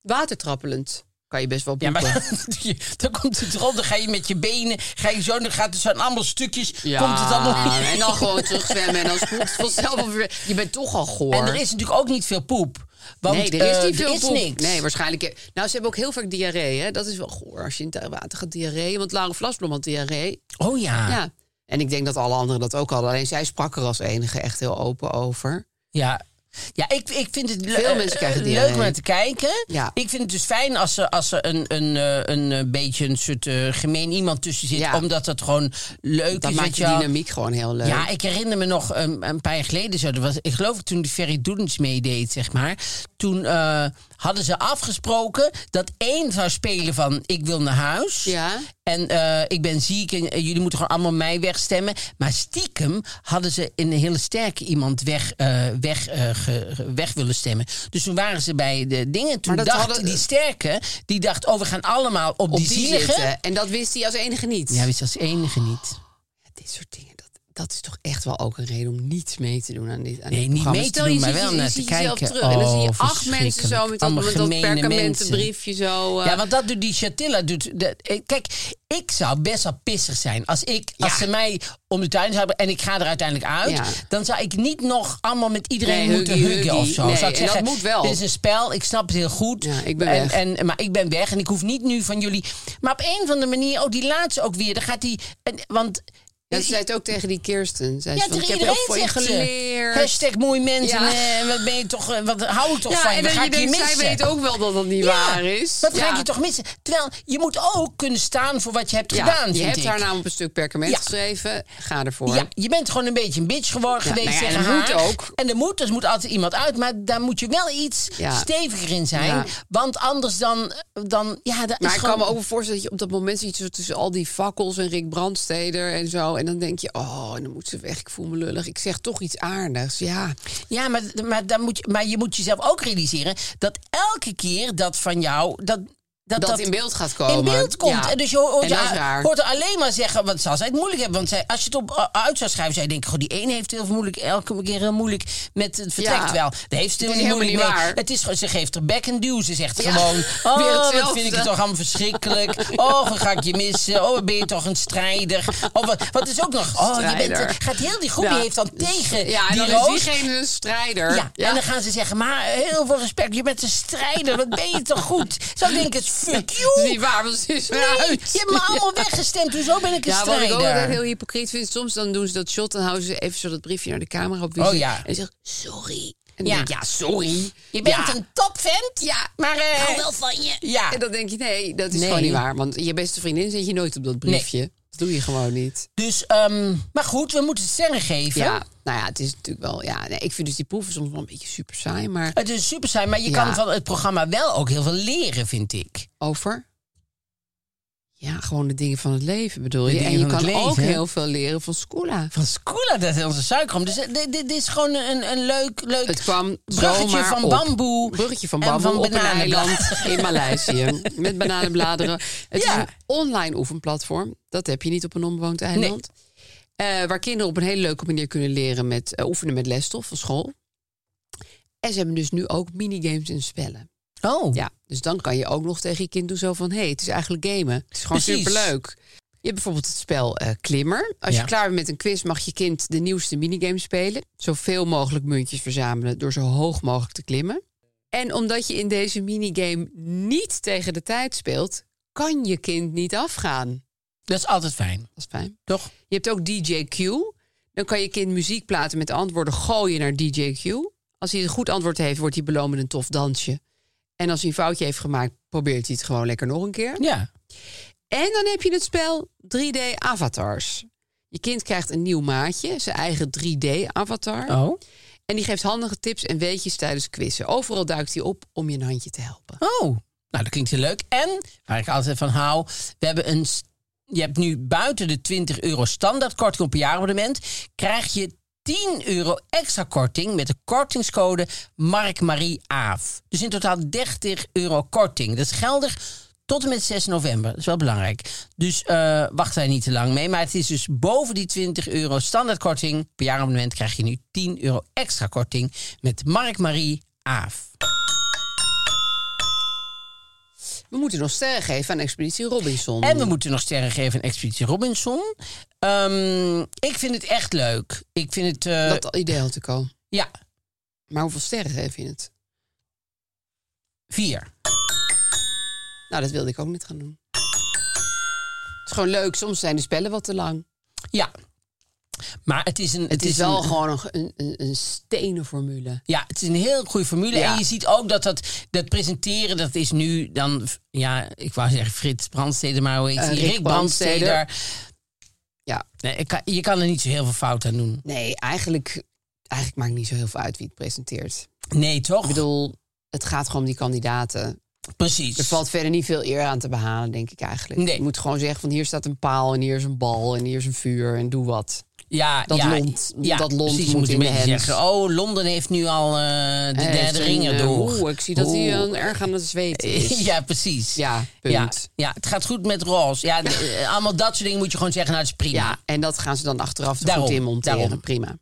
watertrappelend. Kan je best wel Ja, poepen. maar dan, (laughs) dan komt het erop, dan ga je met je benen, ga je zo, dan gaat het zo'n allemaal stukjes, Ja, komt het allemaal en (laughs) dan gewoon terugzwemmen en dan spoelt het vanzelf wel weer. Je bent toch al goor. En er is natuurlijk ook niet veel poep. Want, nee, er is eh, niet veel is poep. niks. Nee, waarschijnlijk. Nou, ze hebben ook heel vaak diarree. Hè? Dat is wel goor als je in het water gaat diarree. Want Lara Vlasblom had diarree. Oh ja. ja. Ja. En ik denk dat alle anderen dat ook hadden. Alleen zij sprak er als enige echt heel open over. Ja. ik, ik vind het le- Veel eh, mensen krijgen eh, diarree. leuk om naar te kijken. Ja. Ik vind het dus fijn als er, als er een, een, eh, een, eh, beetje een soort eh, gemeen iemand tussen zit. Ja. Omdat dat gewoon leuk Dat is. weet maakt de dus je wel. dynamiek gewoon heel leuk. Ja, ik herinner me nog een, een paar jaar geleden. Zo, dat was, ik geloof toen de Ferry Doedens meedeed, zeg maar. Toen eh, hadden ze afgesproken dat één zou spelen van Ik wil naar huis. Ja. En eh, ik ben ziek en eh, jullie moeten gewoon allemaal mij wegstemmen. Maar stiekem hadden ze een hele sterke iemand weg, eh, weg, eh, ge- ge- weg willen stemmen. Dus toen waren ze bij de dingen. Toen dat dacht hadden- die sterke, die dacht, oh, we gaan allemaal op, Op die, die zielige. zitten. En dat wist hij als enige niet. Ja, wist als enige niet. Dit soort dingen, dat, dat is toch echt wel ook een reden om niet mee te doen aan dit aan Nee, niet dit programma. mee te Stel, doen, je maar ziet wel je- je naar ziet te jezelf kijken. Terug. en dan zie je Oh, acht mensen zo met dat, allemaal met dat gemene perkamentenbriefje zo. eh, Ja, want dat doet die Chatilla. Doet, dat, eh, kijk, ik zou best wel pissig zijn. Als, ik, als ze mij om de tuin zouden en ik ga er uiteindelijk uit... Ja. dan zou ik niet nog allemaal met iedereen Nee, moeten huggy, huggen huggy. of zo. Nee, zou ik en dat zeggen, moet wel. Dit is een spel, ik snap het heel goed. Ja, ik ben en, weg. En, maar ik ben weg en ik hoef niet nu van jullie... Maar op een of andere manier, oh, die laatste ook weer. Dan gaat die... en- want... Ja, ze zei het ook tegen die Kirsten. Zei Ja, ze tegen van, Dus ik heb heel iedereen veel voor je zegt ze. geleerd. Hashtag mooi mensen. Ja. eh, wat ben je toch, eh, wat hou ik toch ja, van? en Wat dan ga je ik je denkt, missen? zij weet ook wel dat dat niet waar is. Dat Ja. ga ik je toch missen. Terwijl je moet ook kunnen staan voor wat je hebt Ja, gedaan. Je vind hebt nou- ik. haar naam op een stuk perkament Ja. geschreven. Ga ervoor. Ja, je bent gewoon een beetje een bitch geworden Ja, geweest. nou ja, en tegen dat moet haar. ook. En er moet, er moet altijd iemand uit. Maar daar moet je wel iets Ja. steviger in zijn. Ja. Want anders dan... dan ja, dat Maar is ik Dus gewoon... kan me ook wel voorstellen dat je op dat moment ziet zo tussen al die fakkels en Rick Brandsteder en zo. En dan denk je, oh, dan moet ze weg. Ik voel me lullig. Ik zeg toch iets aardigs. Ja, Ja, maar, maar, dan moet je, maar je moet jezelf ook realiseren... dat elke keer dat van jou... Dat, dat, dat, in beeld gaat komen. In beeld komt. Ja. En dus je hoort, En je dat is raar. hoort er alleen maar zeggen, want zal zij het moeilijk hebben? Want zij, als je het op, eh, uit zou schrijven, zou je denken, goh, die ene heeft heel veel moeilijk, elke keer heel moeilijk met het vertrek. Ja. Terwijl, dat heeft ze Het is helemaal niet helemaal moeilijk. niet Nee, waar. Het is, gewoon- ze geeft er bek en duw. Ze zegt Ja. (laughs) gewoon, Weer oh, wat hetzelfde. vind ik het toch allemaal verschrikkelijk. Oh, wat ga ik je missen? Oh, wat ben je toch een strijder? Oh, wat, wat is ook nog? Oh, je bent, Strijder. gaat heel die groep, Ja. die heeft dan tegen Ja, en die dan roos. is diegene een strijder. Ja, en dan gaan ze zeggen, maar eh, heel veel respect, je bent een strijder, wat ben je toch goed? Zou ik denken, (laughs) fuck Dat you. is niet waar, want ze is Nee, eruit. je hebt (laughs) me allemaal weggestemd. Hoezo ben ik een Ja, wat ik ook altijd strijder? heel hypocriet vind, soms dan doen ze dat shot, dan houden ze even zo dat briefje naar de camera op. Oh, ja. En ze zegt, sorry. En dan Ja. denk ik, ja, sorry. Je bent Ja. een topvent. Ja. maar eh, Ik hou wel van je. Ja. En dan denk je, nee, dat is Nee. gewoon niet waar. Want je beste vriendin zet je nooit op dat briefje. Dat doe je gewoon niet. Dus, ehm, maar goed, we moeten het sterren geven. Ja, nou ja, het is natuurlijk wel... Ja, nee, ik vind dus die proeven soms wel een beetje super saai, maar Het is super saai, maar je Ja. kan van het programma wel ook heel veel leren, vind ik. over... Ja, gewoon de dingen van het leven bedoel je. De En dingen je van kan het leven, ook hè? heel veel leren van Skoola. Van Skoola, dat is onze suikerom. Dus eh, dit, dit is gewoon een, een leuk, leuk Het kwam bruggetje zomaar van op. bamboe. Bruggetje van en bamboe op een bananenblad. eiland (laughs) in Maleisië. Met bananenbladeren. Het Ja. is een online oefenplatform. Dat heb je niet op een onbewoond eiland. Eh, waar kinderen op een hele leuke manier kunnen leren met eh, oefenen met lesstof van school. En ze hebben dus nu ook minigames en spellen. Oh, Ja, dus dan kan je ook nog tegen je kind doen zo van... hé, hey, het is eigenlijk gamen. Het is gewoon Precies. superleuk. Je hebt bijvoorbeeld het spel eh, Klimmer. Als Ja. je klaar bent met een quiz mag je kind de nieuwste minigame spelen. Zoveel mogelijk muntjes verzamelen door zo hoog mogelijk te klimmen. En omdat je in deze minigame niet tegen de tijd speelt... kan je kind niet afgaan. dat is altijd fijn, Dat is fijn. toch? Je hebt ook DJQ. Dan kan je kind muziekplaten met antwoorden gooien naar DJQ. Als hij een goed antwoord heeft, wordt hij beloond met een tof dansje. En als hij een foutje heeft gemaakt, probeert hij het gewoon lekker nog een keer. Ja. En dan heb je het spel 3D Avatars. Je kind krijgt een nieuw maatje, zijn eigen 3D-avatar. Oh. En die geeft handige tips en weetjes tijdens quizzen. Overal duikt hij op om je een handje te helpen. Oh, nou dat klinkt heel leuk. En, waar ik altijd van hou, we hebben een... s- Je hebt nu buiten de 20 euro standaard korting op een jaarabonnement... krijg je 10 euro extra korting met de kortingscode MarkMarieAaf. Dus in totaal 30 euro korting. Dat is geldig tot en met 6 november. Dat is wel belangrijk. Dus eh wacht daar niet te lang mee. Maar het is dus boven die 20 euro standaard korting. Per jaarabonnement krijg je nu 10 euro extra korting met Mark Marie Aaf. We moeten nog sterren geven aan Expeditie Robinson. En we moeten nog sterren geven aan Expeditie Robinson. Ehm, ik vind het echt leuk. Ik vind het... eh, Dat idee had ik al. Ja, Maar hoeveel sterren geef je het? vier. Nou, dat wilde ik ook niet gaan doen. Het is gewoon leuk. Soms zijn de spellen wat te lang. Ja. Maar het is een... Het, is, wel een- gewoon nog een, een, een stenen formule. Ja, het is een heel goede formule. Ja. En je ziet ook dat, dat dat presenteren, dat is nu dan... Ja, ik wou zeggen Frits Brandsteder, maar hoe heet Eh, die? Rick Rick Brandsteder. Ja, Nee, ik kan- je kan er niet zo heel veel fout aan doen. nee, eigenlijk, eigenlijk maakt niet zo heel veel uit wie het presenteert. Nee, toch? Ik bedoel, het gaat gewoon om die kandidaten. Precies. Er valt verder niet veel eer aan te behalen, denk ik eigenlijk. Nee. Je moet gewoon zeggen van hier staat een paal en hier is een bal en hier is een vuur en doe wat. ja, dat ja, lont- dat lont precies, je moet een in de beetje hands. zeggen, oh, Londen heeft nu al eh, de Eh, derde en, ring eh, erdoor. oeh, ik zie dat hij Oeh. eh, erg aan het zweten is. (laughs) Ja, precies. Ja, punt. Ja, ja, het gaat goed met Roos. Ja, de- eh, allemaal dat soort dingen moet je gewoon zeggen, nou, dat is prima. Ja, en dat gaan ze dan achteraf er Daarom, goed in monteren. daarom. Prima.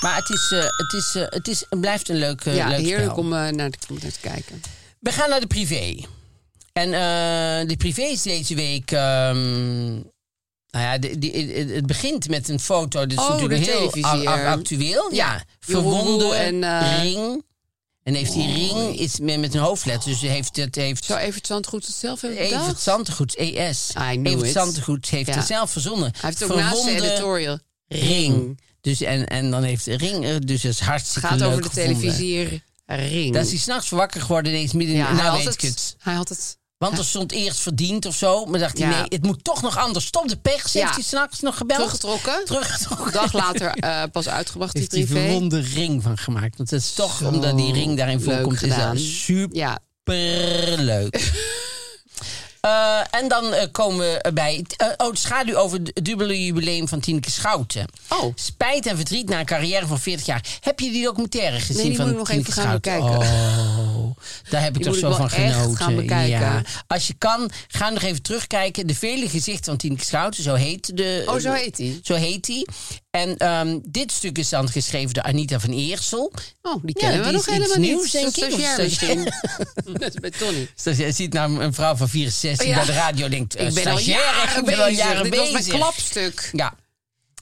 Maar het, is, eh, het, is, eh, het, is, het blijft een leuk, eh, Ja, leuk heerlijk spel. om, eh, naar, om naar te kijken. We gaan naar de privé. En eh, de privé is deze week... ehm, nou ja, de- die- het- het begint met een foto. Dat is Oh, natuurlijk de heel ac- televisier. actueel. Ja, Jeroen verwonden, Roel en, eh, ring. En heeft die ring is met, met een hoofdletter. Dus heeft, het heeft Zou Evert Zandgoed het zelf hebben bedacht? Evert Zantegoed, ES. I knew Evert it. Zantegoed heeft Ja. het zelf verzonnen. Hij heeft het ook naast de Verwonde editorial. ring. Dus en, en dan heeft de ring er, dus dat is Het hartstikke gaat leuk over de gevonden. televisier Ring. Dan is hij s'nachts wakker geworden ineens midden in Ja, de hij, nou had weet ik het, het. hij had het. Want er stond eerst verdiend of zo. Maar dacht hij, Ja. nee, het moet toch nog anders. Stop de pers, Ja. heeft hij s'nachts nog gebeld. Teruggetrokken. Teruggetrokken. Een dag later eh, pas uitgebracht, die heeft hij 3 een ronde ring van gemaakt. Want het is toch, Zo omdat die ring daarin leuk voorkomt, is gedaan. dat super Ja, leuk. (laughs) Eh, en dan eh, komen we bij eh, oh, de schaduw over het dubbele jubileum van Tineke Schouten. Oh. Spijt en verdriet na een carrière van 40 jaar. Heb je die documentaire gezien die van moet ik nog Tineke even gaan Schouten? Oh, daar heb ik Die toch moet zo ik wel van echt genoten. gaan bekijken. Ja. Als je kan, ga nog even terugkijken. De vele gezichten van Tineke Schouten, zo heet de... Oh, zo heet die? Zo heet die. En ehm, dit stuk is dan geschreven door Anita van Eersel. oh, die kennen Ja, we die nog is iets helemaal nieuws, niet. denk Zo'n ik, of stagiair stagiair. (laughs) misschien. Dat is bij Tony. Dus je ziet nou een vrouw van 64 Oh Ja. bij de radio denkt... eh, Ik ben al stagiaire, jaren ik ben al bezig. jaren Dit was mijn bezig. klapstuk. Ja.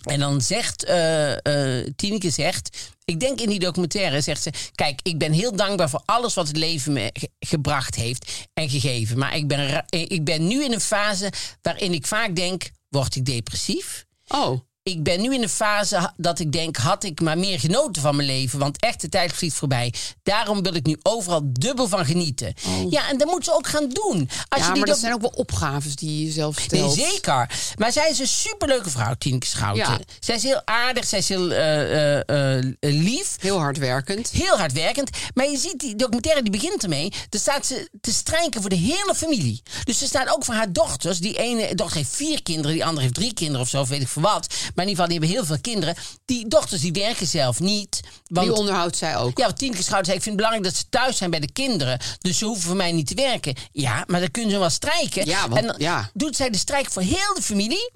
En dan zegt eh, eh, Tineke zegt, ik denk in die documentaire zegt ze, kijk, ik ben heel dankbaar voor alles wat het leven me ge- gebracht heeft en gegeven. Maar ik ben, ra- eh, ik ben nu in een fase waarin ik vaak denk, word ik depressief? Oh, ik ben nu in een fase ha- dat ik denk, had ik maar meer genoten van mijn leven. Want echt, de tijd vliegt voorbij. Daarom wil ik nu overal dubbel van genieten. Ja, en dat moeten ze ook gaan doen. Als Oh. ja, je maar niet dat op- zijn ook wel opgaves die je zelf Nee, stelt. zeker. Maar zij is een superleuke vrouw, Tineke Schouten. Ja. Zij is heel aardig, zij is heel eh, eh, eh, lief. Heel hardwerkend. Heel hardwerkend. Maar je ziet, die documentaire die begint ermee. Daar staat ze te strijken voor de hele familie. Dus ze staat ook voor haar dochters. Die ene dochter heeft vier kinderen. Die andere heeft drie kinderen of zo. Of weet ik voor wat. Maar in ieder geval, die hebben heel veel kinderen. Die dochters die werken zelf niet. Want, Die onderhoudt zij ook. ja, want Tineke Schouten zei, ik vind het belangrijk dat ze thuis zijn bij de kinderen. Dus ze hoeven voor mij niet te werken. Ja, maar dan kunnen ze wel strijken. Ja, want- en dan ja. doet zij de strijk voor heel de familie.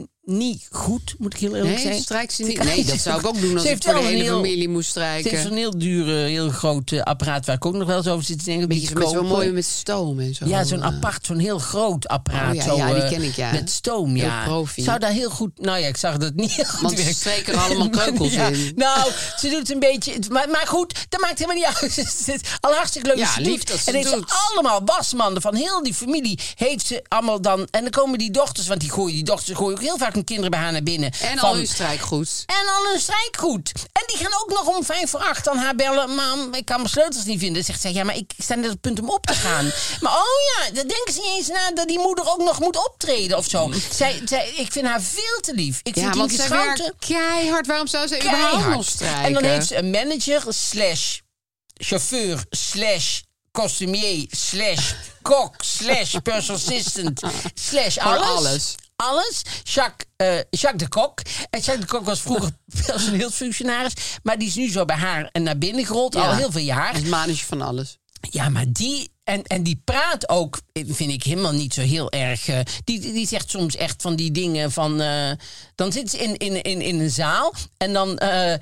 N- Niet goed, moet ik heel eerlijk Nee, zijn. strijkt ze niet. Nee, dat zou ik ook doen als Ze ik heeft voor de wel een hele heel- familie moest Het is een strijken. heel duur, eh, heel groot eh, apparaat waar ik ook nog wel eens over zit te denken. om die Beetje te met zo'n kopen. mooie met stoom en zo. Ja, zo'n Eh, apart, zo'n heel groot apparaat. Oh ja, zo, ja, die eh, ken ik, ja. Met stoom, Heel ja. profi. Zou daar heel goed... Nou ja, ik zag dat het niet heel goed Want ze werkt. steken er (laughs) allemaal kreukels in. Nou, ze doet een beetje... het- Maar, maar goed, dat maakt helemaal niet uit. (laughs) Het is al hartstikke leuk Ja, dat ze lief doet. dat ze en heeft doet. ze allemaal wasmanden van heel die familie. Heeft ze allemaal dan... En dan komen die dochters, want die gooien die dochters... gooien ook heel vaak hun kinderen bij haar naar binnen. van, En al hun strijkgoed. en al een strijkgoed. En die gaan ook nog om vijf voor acht aan haar bellen. Mam, ik kan mijn sleutels niet vinden. Zegt zij, ja, maar ik sta net op het punt om op te gaan. (laughs) maar oh ja, dan denken ze niet eens na dat die moeder ook nog moet optreden of zo. zij, zij, ik vind haar veel te lief. Ik Mm. Ja, vind want Tineke zij Schouten werkt keihard. Waarom zou ze überhaupt nog keihard. strijken? En dan heeft ze een manager slash chauffeur slash costumier slash kok slash personal assistant slash Gewoon alles. alles. Alles. Jacques, eh, Jacques de Kok. En Jacques de Kok was vroeger (laughs) personeelsfunctionaris. Maar die is nu zo bij haar en naar binnen gerold. Ja. Al heel veel jaar. Het manager van alles. Ja, maar die. En, en die praat ook, eh, vind ik helemaal niet zo heel erg. eh, die, die die zegt soms echt van die dingen van. eh, dan zit ze in, in, in, in een zaal en dan. eh, eh,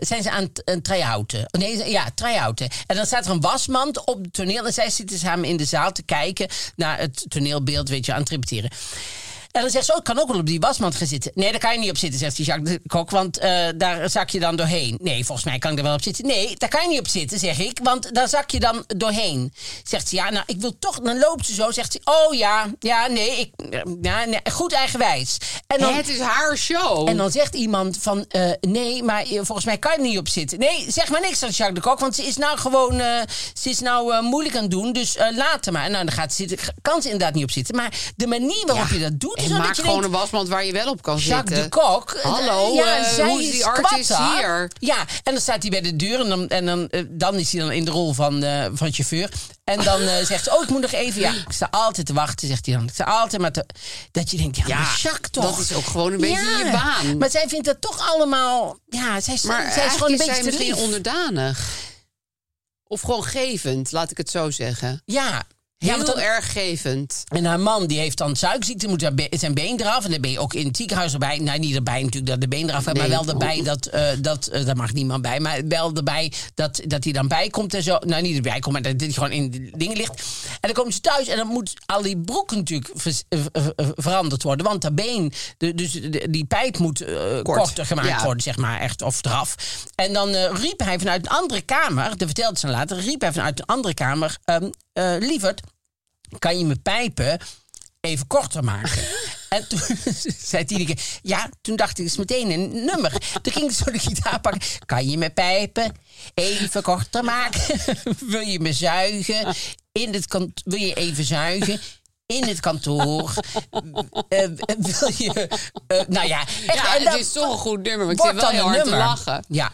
zijn ze aan het- een try-outen? Oh, Nee, ze- ja, try-outen. En dan staat er een wasmand op het toneel. En zij zitten samen in de zaal te kijken naar het toneelbeeld, weet je, aan het repeteren. En dan zegt ze, oh, ik kan ook wel op die wasmand gaan zitten. Nee, daar kan je niet op zitten, zegt die Jacques de Kok, want eh, daar zak je dan doorheen. Nee, volgens mij kan ik er wel op zitten. Nee, daar kan je niet op zitten, zeg ik, want daar zak je dan doorheen. Zegt ze, ja, nou, ik wil toch... Dan loopt ze zo, zegt ze, oh ja, ja, nee, ik, eh, ja, nee goed eigenwijs. En dan, het is haar show. en dan zegt iemand van, eh, nee, maar eh, volgens mij kan je er niet op zitten. Nee, zeg maar niks aan Jacques de Kok, want ze is nou gewoon, eh, ze is nou eh, moeilijk aan het doen, dus eh laat haar maar. En nou, dan gaat ze zitten, kan ze inderdaad niet op zitten. Maar de manier waarop je dat doet, is en wel maak dat je gewoon denkt, een wasmand waar je wel op kan Jacques de zitten. Kok. eh, Hallo, eh, hoe is die artist kwatta. hier? Ja, en dan staat hij bij de deur en dan, en dan, eh, dan is hij dan in de rol van, eh, van chauffeur. En dan eh, (laughs) zegt ze, oh, ik moet nog even... Ja, ik sta altijd te wachten, zegt hij dan. Ik sta altijd maar te... Dat je denkt, ja, Ja, maar Jacques toch. dat is ook gewoon een beetje je baan. Maar zij vindt dat toch allemaal... Ja, zij, is- Maar zij is eigenlijk gewoon een is zij beetje te misschien lief. onderdanig. Of gewoon gevend, laat ik het zo zeggen. Ja. Ja, Heel want dan- erg gevend. En haar man die heeft dan suikerziekte, moet haar be- zijn been eraf. En dan ben je ook in het ziekenhuis erbij. Nou, niet erbij natuurlijk dat de been eraf gaat, Nee. maar wel erbij dat, eh, dat eh, daar mag niemand bij. Maar wel erbij dat, dat hij dan bijkomt en zo. Nou, niet erbij komt, maar dat dit gewoon in de dingen ligt. En dan komt ze thuis en dan moet al die broek natuurlijk vers- eh, eh, eh, veranderd worden. Want dat been, de, dus de- die pijp moet eh, korter gemaakt ja. worden, zeg maar, echt, of eraf. En dan eh, riep hij vanuit een andere kamer, dat vertelde ze later, riep hij vanuit een andere kamer, ehm eh, lieverd, kan je mijn pijpen even korter maken? (laughs) En toen (laughs) zei Tineke, ja, toen dacht ik, het is meteen een nummer. Toen ging ze zo de gitaar pakken. Kan je mijn pijpen even korter maken? (laughs) Wil je me zuigen? In het kant Wil je even zuigen? In het kantoor. Eh, eh, wil je... eh, nou ja, echt, Ja, en dan het is toch een goed nummer, maar ik wordt zit dan wel heel een hard te nummer. lachen. Ja.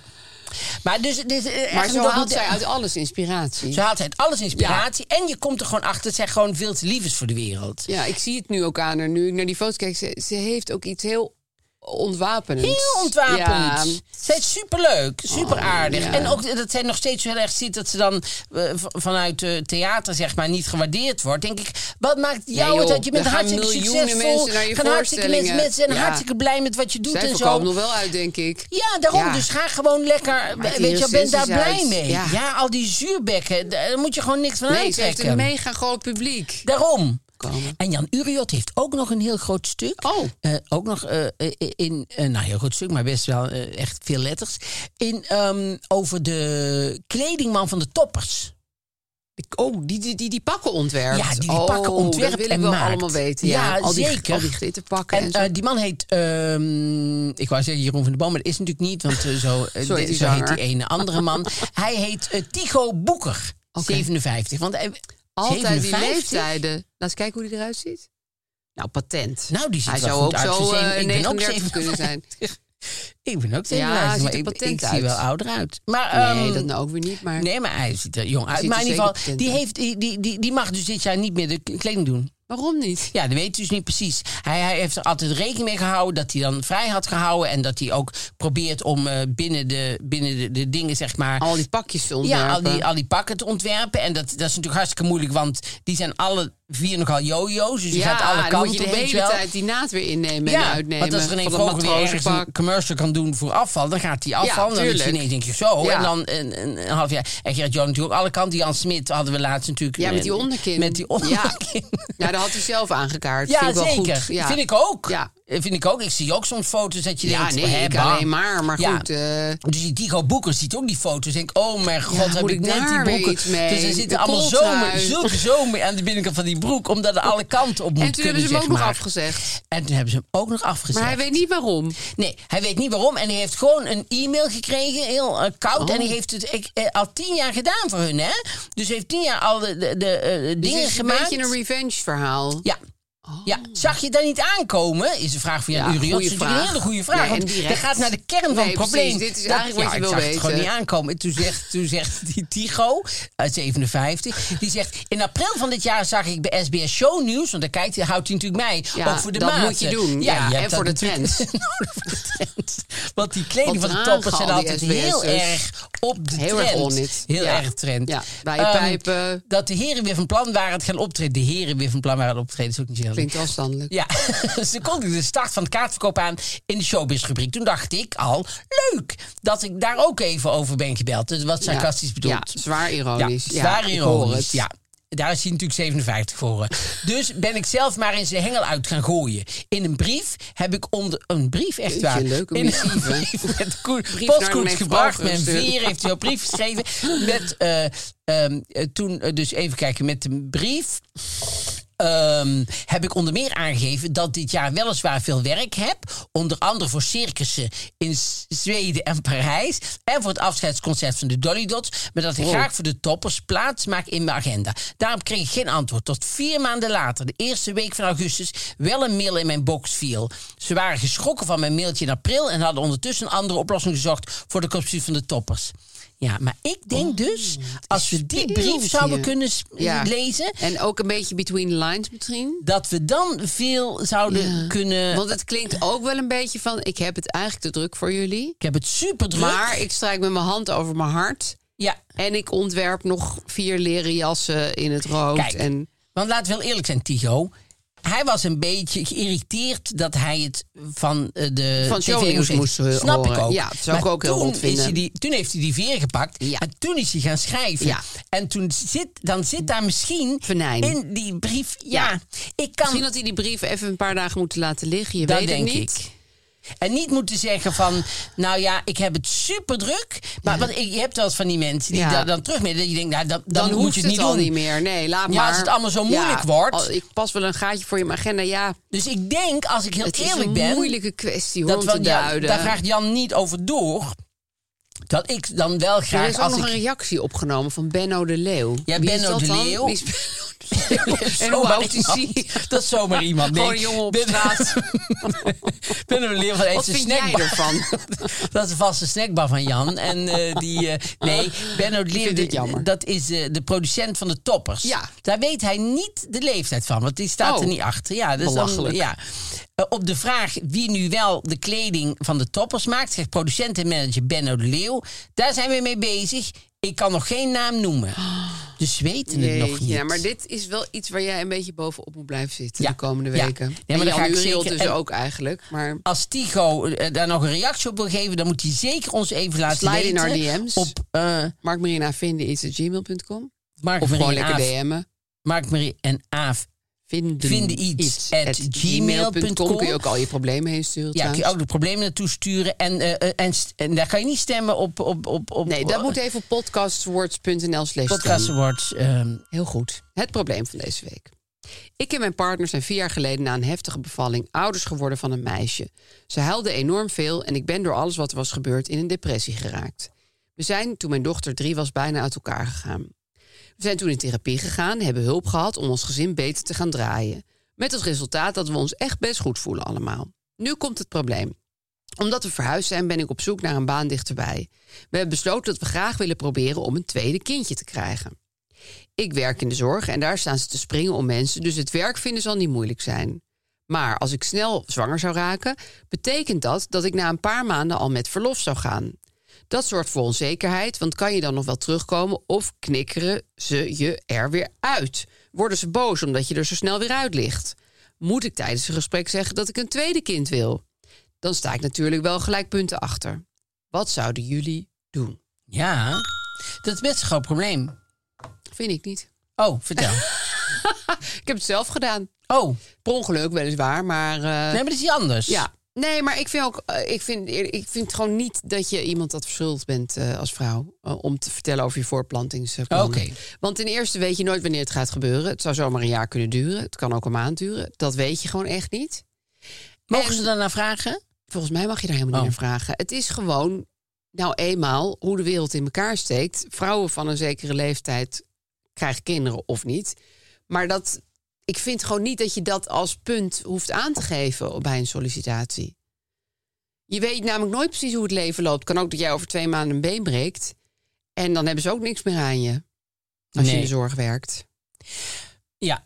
Maar, dus, dit, eh, Maar echt zo een haalt docu- zij uit alles inspiratie. Ze haalt uit alles inspiratie. En je komt er gewoon achter dat zij gewoon veel te lief is voor de wereld. Ja, ik zie het nu ook aan haar. Nu ik naar die foto's kijk, ze, ze heeft ook iets heel ontwapenends. Heel ontwapend. Ja. Oh, Zij is superleuk, super aardig. ja. En ook dat zij nog steeds zo heel erg ziet dat ze dan eh, v- vanuit eh, theater zeg maar niet gewaardeerd wordt. Denk ik, wat maakt jou joh, het dat je bent er gaan hartstikke miljoenen succesvol? mensen naar je gaan hartstikke mensen, voorstellingen. mensen zijn Ja. hartstikke blij met wat je doet Zij en voorkomt zo. nog wel uit, denk ik. Ja, daarom. Ja. Dus ga gewoon lekker. Maakt die Weet je, ben daar recensies blij uit. mee. Ja. Ja. al die zuurbekken, daar moet je gewoon niks van Nee, ze heeft aantrekken. een mega groot publiek. Daarom. Komen. En Jan Uriot heeft ook nog een heel groot stuk. Oh. Eh, ook nog eh, eh, in, eh, nou heel groot stuk, maar best wel eh, echt veel letters. In, ehm, over de kledingman van de toppers. Ik- Oh, die, die, die, die pakken ontwerpt. Ja, die, die Oh, pakken ontwerpt dat wil ik en wel maakt. allemaal weten. Ja, al die, zeker. Al die glitterpakken en, En, zo. eh, die man heet, ehm, ik wou zeggen Jeroen van de Boom, maar dat is natuurlijk niet, want eh, zo, (laughs) eh, Zo heet die zo heet die zanger. ene andere (laughs) man. Hij heet eh, Tycho Boeker, Oké. 57. Want eh, hij- Altijd 57? die leeftijden. Laat eens kijken hoe die eruit ziet. Nou, patent. Nou, die ziet Hij er wel zou goed ook uit. zo Ze eh, zijn- ik ben ook 39 kunnen 57. zijn. (laughs) Ik ben ook tegen Ja, hij ziet maar er ik, ik patent zie uit. wel ouder uit. Maar, Nee, ehm, dat nou ook weer niet, maar... Nee, maar hij ziet er jong uit. ziet Maar er in ieder zeker geval, die, patent heeft, die, die, die, die mag dus dit jaar niet meer de k- kleding doen. Waarom niet? Ja, dat weet je dus niet precies. Hij, hij heeft er altijd rekening mee gehouden dat hij dan vrij had gehouden. En dat hij ook probeert om eh, binnen, de, binnen de, de dingen, zeg maar. Al die pakjes te ontwerpen. ja, al die, al die pakken te ontwerpen. En dat, dat is natuurlijk hartstikke moeilijk, want die zijn alle vier nogal jojo's. Dus je Ja, gaat alle dan kanten moet je op, de weet hele wel. tijd die naad weer innemen en uitnemen. Want als René Van dat Vroger weer ergens matrozenpak. een commercial kan doen voor afval, dan gaat hij afval. en dan is tuurlijk. hij ineens denk je zo. Ja. En dan een, een, een half jaar. En Gerard Joon natuurlijk ook alle kanten. Jan Smit hadden we laatst natuurlijk. Ja, met die eh, onderkin. Met die onderkin. Ja, dat had hij zelf aangekaart. Ja, Vind ik wel zeker. Goed. Ja. Vind ik ook. Ja. Eh, Vind ik ook. Ik zie ook soms foto's dat je Ja, denkt... nee, hè, ik bah. alleen maar. Maar Ja. goed, eh, Dus die Diego Boeker ziet ook die foto's. Denk, oh mijn god, heb moet ik ik net die daar weer broeken. iets mee? Dus er zitten Een allemaal zomer, kooltrui. zulke zomer aan de binnenkant van die broek. Omdat er alle kanten op moet en toen kunnen, hebben ze hem zeg ook nog maar. (laughs) afgezegd. En toen hebben ze hem ook nog afgezet. Maar hij weet niet waarom. Dus Nee, hij weet niet waarom. En hij heeft gewoon een e-mail gekregen, heel eh, koud. Oh. En hij heeft het ik, eh, al tien jaar gedaan voor hun, hè? Dus hij heeft tien jaar al de, de, de, eh, Dus dingen het is een gemaakt. beetje een revenge verhaal. Ja. Ja, zag je daar niet aankomen? Is een vraag van Jan Oh. Ja, Uriot. goeie Dat is natuurlijk een vraag. hele goede vraag. Nee, en want dat direct. gaat naar de kern van Nee, het probleem. precies, dit is Dat- eigenlijk ja, wat je ik wil zag het gewoon weten. niet aankomen. En toen zegt, toen zegt die Tigo, uit 57, die zegt... In april van dit jaar zag ik bij SBS Show Nieuws... want daar kijkt, hij- houdt hij natuurlijk mij, Ja, ook voor de dat maten. moet je doen. Ja, je hebt en dat voor de natuurlijk (laughs) trends. nodig voor de trends. Want die kleding Wat van de dragen toppers zijn al die altijd heel SBS'ers? erg op de Heel trend. erg on it. Heel Ja. erg trend. Ja, bij je Ehm, pijpen. dat de heren weer van plan waren het gaan optreden. De heren weer van plan waren het optreden. is ook niet zo heel Klinkt afstandelijk. ja, (laughs) ze kondigde de start van het kaartverkoop aan in de showbizrubriek. Toen dacht ik al, leuk, dat ik daar ook even over ben gebeld. Dus wat Ja. sarcastisch bedoeld. Ja, zwaar ironisch. Ja, Ja, zwaar ik hoor ironisch. het. Ja. Daar is hij natuurlijk 57 voor. hè. Dus ben ik zelf maar in zijn hengel uit gaan gooien. In een brief heb ik onder... Een brief, echt Jeetje, waar. leuke in (laughs) missief, een hè? brief met koe- Brief naar postkoets René gebracht. Vroger Mijn gestuurd. veer heeft jouw brief geschreven. Met, eh, ehm, eh, toen, eh, dus even kijken, met een brief... Ehm, heb ik onder meer aangegeven dat dit jaar weliswaar veel werk heb. Onder andere voor circussen in S- Zweden en Parijs. En voor het afscheidsconcert van de Dolly Dots. Maar dat Oh. ik graag voor de toppers plaats maak in mijn agenda. Daarom kreeg ik geen antwoord. Tot vier maanden later, de eerste week van augustus, wel een mail in mijn box viel. Ze waren geschrokken van mijn mailtje in april. En hadden ondertussen een andere oplossing gezocht voor de kopstuur van de toppers. Ja, maar ik denk Oh, dus, als we die brief zouden hier. kunnen s- Ja. lezen, En ook een beetje between the lines misschien. dat we dan veel zouden Ja. kunnen. Want het klinkt ook wel een beetje van... ik heb het eigenlijk te druk voor jullie. ik heb het super druk. Maar ik strijk met mijn hand over mijn hart. ja, En ik ontwerp nog vier leren jassen in het rood. Kijk. En want laten we wel eerlijk zijn, Tigo. Hij was een beetje geïrriteerd dat hij het van eh, de Van TV shownieuws moest moest eh, weten. Snap horen. ik ook. Ja, dat zou ik Maar ook heel toen rot vinden. is hij die- toen heeft hij die veer gepakt Ja. en toen is hij gaan schrijven. Ja. En toen zit, dan zit daar misschien Venijn. in die brief... Ja, Ja. ik kan... misschien dat hij die brief even een paar dagen moet laten liggen. Je Dat weet denk het niet. ik. En niet moeten zeggen van, nou ja, ik heb het super druk. Maar want ik, je hebt wel eens van die mensen die Mhm. Ja. daar dan terug mee. Dat je denkt, nou, dan, dan, Dan, moet hoeft je het, het niet al doen. niet meer. Nee, laat Ja, maar. als het allemaal zo moeilijk wordt. al- ik pas wel een gaatje voor je in mijn agenda. Ja, Dus ik denk, als ik heel het is eerlijk een ben, moeilijke kwestie hoor, dat om wel te Jan- duiden. daar vraagt Jan niet over door. Dat ik dan wel er graag is ook als nog een ik. reactie opgenomen van Benno de Leeuw. Ja, Wie is Benno dat de dan? Leeuw. Wie is Benno (laughs) de Leeuw? (laughs) en hoe zomaar houdt hij iemand. zich? Dat is zomaar iemand. Nee. Gewoon een jongen op ben, (laughs) straat. ben een leer van Wat even een vind jij snackbar. ervan? (laughs) Dat is een vaste snackbar van Jan. En eh, die. eh, nee, Benno de Leeuw, vind dit jammer. dat is eh, de producent van de toppers. Ja. Daar weet hij niet de leeftijd van, want die staat Oh. er niet achter. Ja, dus dan, Belachelijk. ja. Eh, op de vraag wie nu wel de kleding van de toppers maakt, zegt producent en manager Benno de Leeuw. Daar zijn we mee bezig. Ik kan nog geen naam noemen. (gasps) Dus ze weten het nog niet. ja, maar dit is wel iets waar jij een beetje bovenop moet blijven zitten Ja, de komende ja. weken. Nee, maar En dan Jan ga ik Uriel zeker- dus en- ook eigenlijk. Maar als Tigo eh, daar nog een reactie op wil geven, dan moet hij zeker ons even laten Slide in weten. our DM's. Op eh markmarina vinden iets at gmail.com. Mark Of gewoon Marie en lekker Aaf. DM'en. Mark Marie en Aaf Vinden, Vinden iets at gmail.com. Kun je ook al je problemen heen sturen. Ja, kun je trouwens. ook de problemen naartoe sturen. En, eh, eh, en, st- en daar kan je niet stemmen op... op, op, op Nee, dat moet even op podcastwords.nl slash Podcast stem. Awards. ehm, heel goed. Het probleem van deze week. Ik en mijn partner zijn vier jaar geleden na een heftige bevalling ouders geworden van een meisje. Ze huilde enorm veel en ik ben door alles wat er was gebeurd in een depressie geraakt. We zijn toen mijn dochter drie was bijna uit elkaar gegaan. We zijn toen in therapie gegaan, hebben hulp gehad om ons gezin beter te gaan draaien. Met als resultaat dat we ons echt best goed voelen allemaal. Nu komt het probleem. Omdat we verhuisd zijn ben ik op zoek naar een baan dichterbij. We hebben besloten dat we graag willen proberen om een tweede kindje te krijgen. Ik werk in de zorg en daar staan ze te springen om mensen, dus het werk vinden zal niet moeilijk zijn. Maar als ik snel zwanger zou raken, betekent dat dat ik na een paar maanden al met verlof zou gaan. Dat zorgt voor onzekerheid, want kan je dan nog wel terugkomen of knikkeren ze je er weer uit? Worden ze boos omdat je er zo snel weer uit ligt? Moet ik tijdens een gesprek zeggen dat ik een tweede kind wil? Dan sta ik natuurlijk wel gelijk punten achter. Wat zouden jullie doen? Ja, dat is best een groot probleem. Vind ik niet. Oh, (laughs) vertel. Ik heb het zelf gedaan. Oh, Per ongeluk weliswaar, maar... eh, nee, dus? maar dat is iets anders. Ja. Nee, maar ik vind, ook, eh, ik, vind, ik vind gewoon niet dat je iemand dat verschuldigd bent eh, als vrouw. eh, om te vertellen over je voortplantingsplannen. Oké. Want ten eerste weet je nooit wanneer het gaat gebeuren. Het zou zomaar een jaar kunnen duren. Het kan ook een maand duren. Dat weet je gewoon echt niet. Mogen En- ze daarna vragen? Volgens mij mag je daar helemaal niet Oh. naar vragen. Het is gewoon, nou eenmaal, hoe de wereld in elkaar steekt. Vrouwen van een zekere leeftijd krijgen kinderen of niet. Maar dat, ik vind gewoon niet dat je dat als punt hoeft aan te geven bij een sollicitatie. Je weet namelijk nooit precies hoe het leven loopt. Kan ook dat jij over twee maanden een been breekt. En dan hebben ze ook niks meer aan je. Als je Nee. in de zorg werkt. Ja.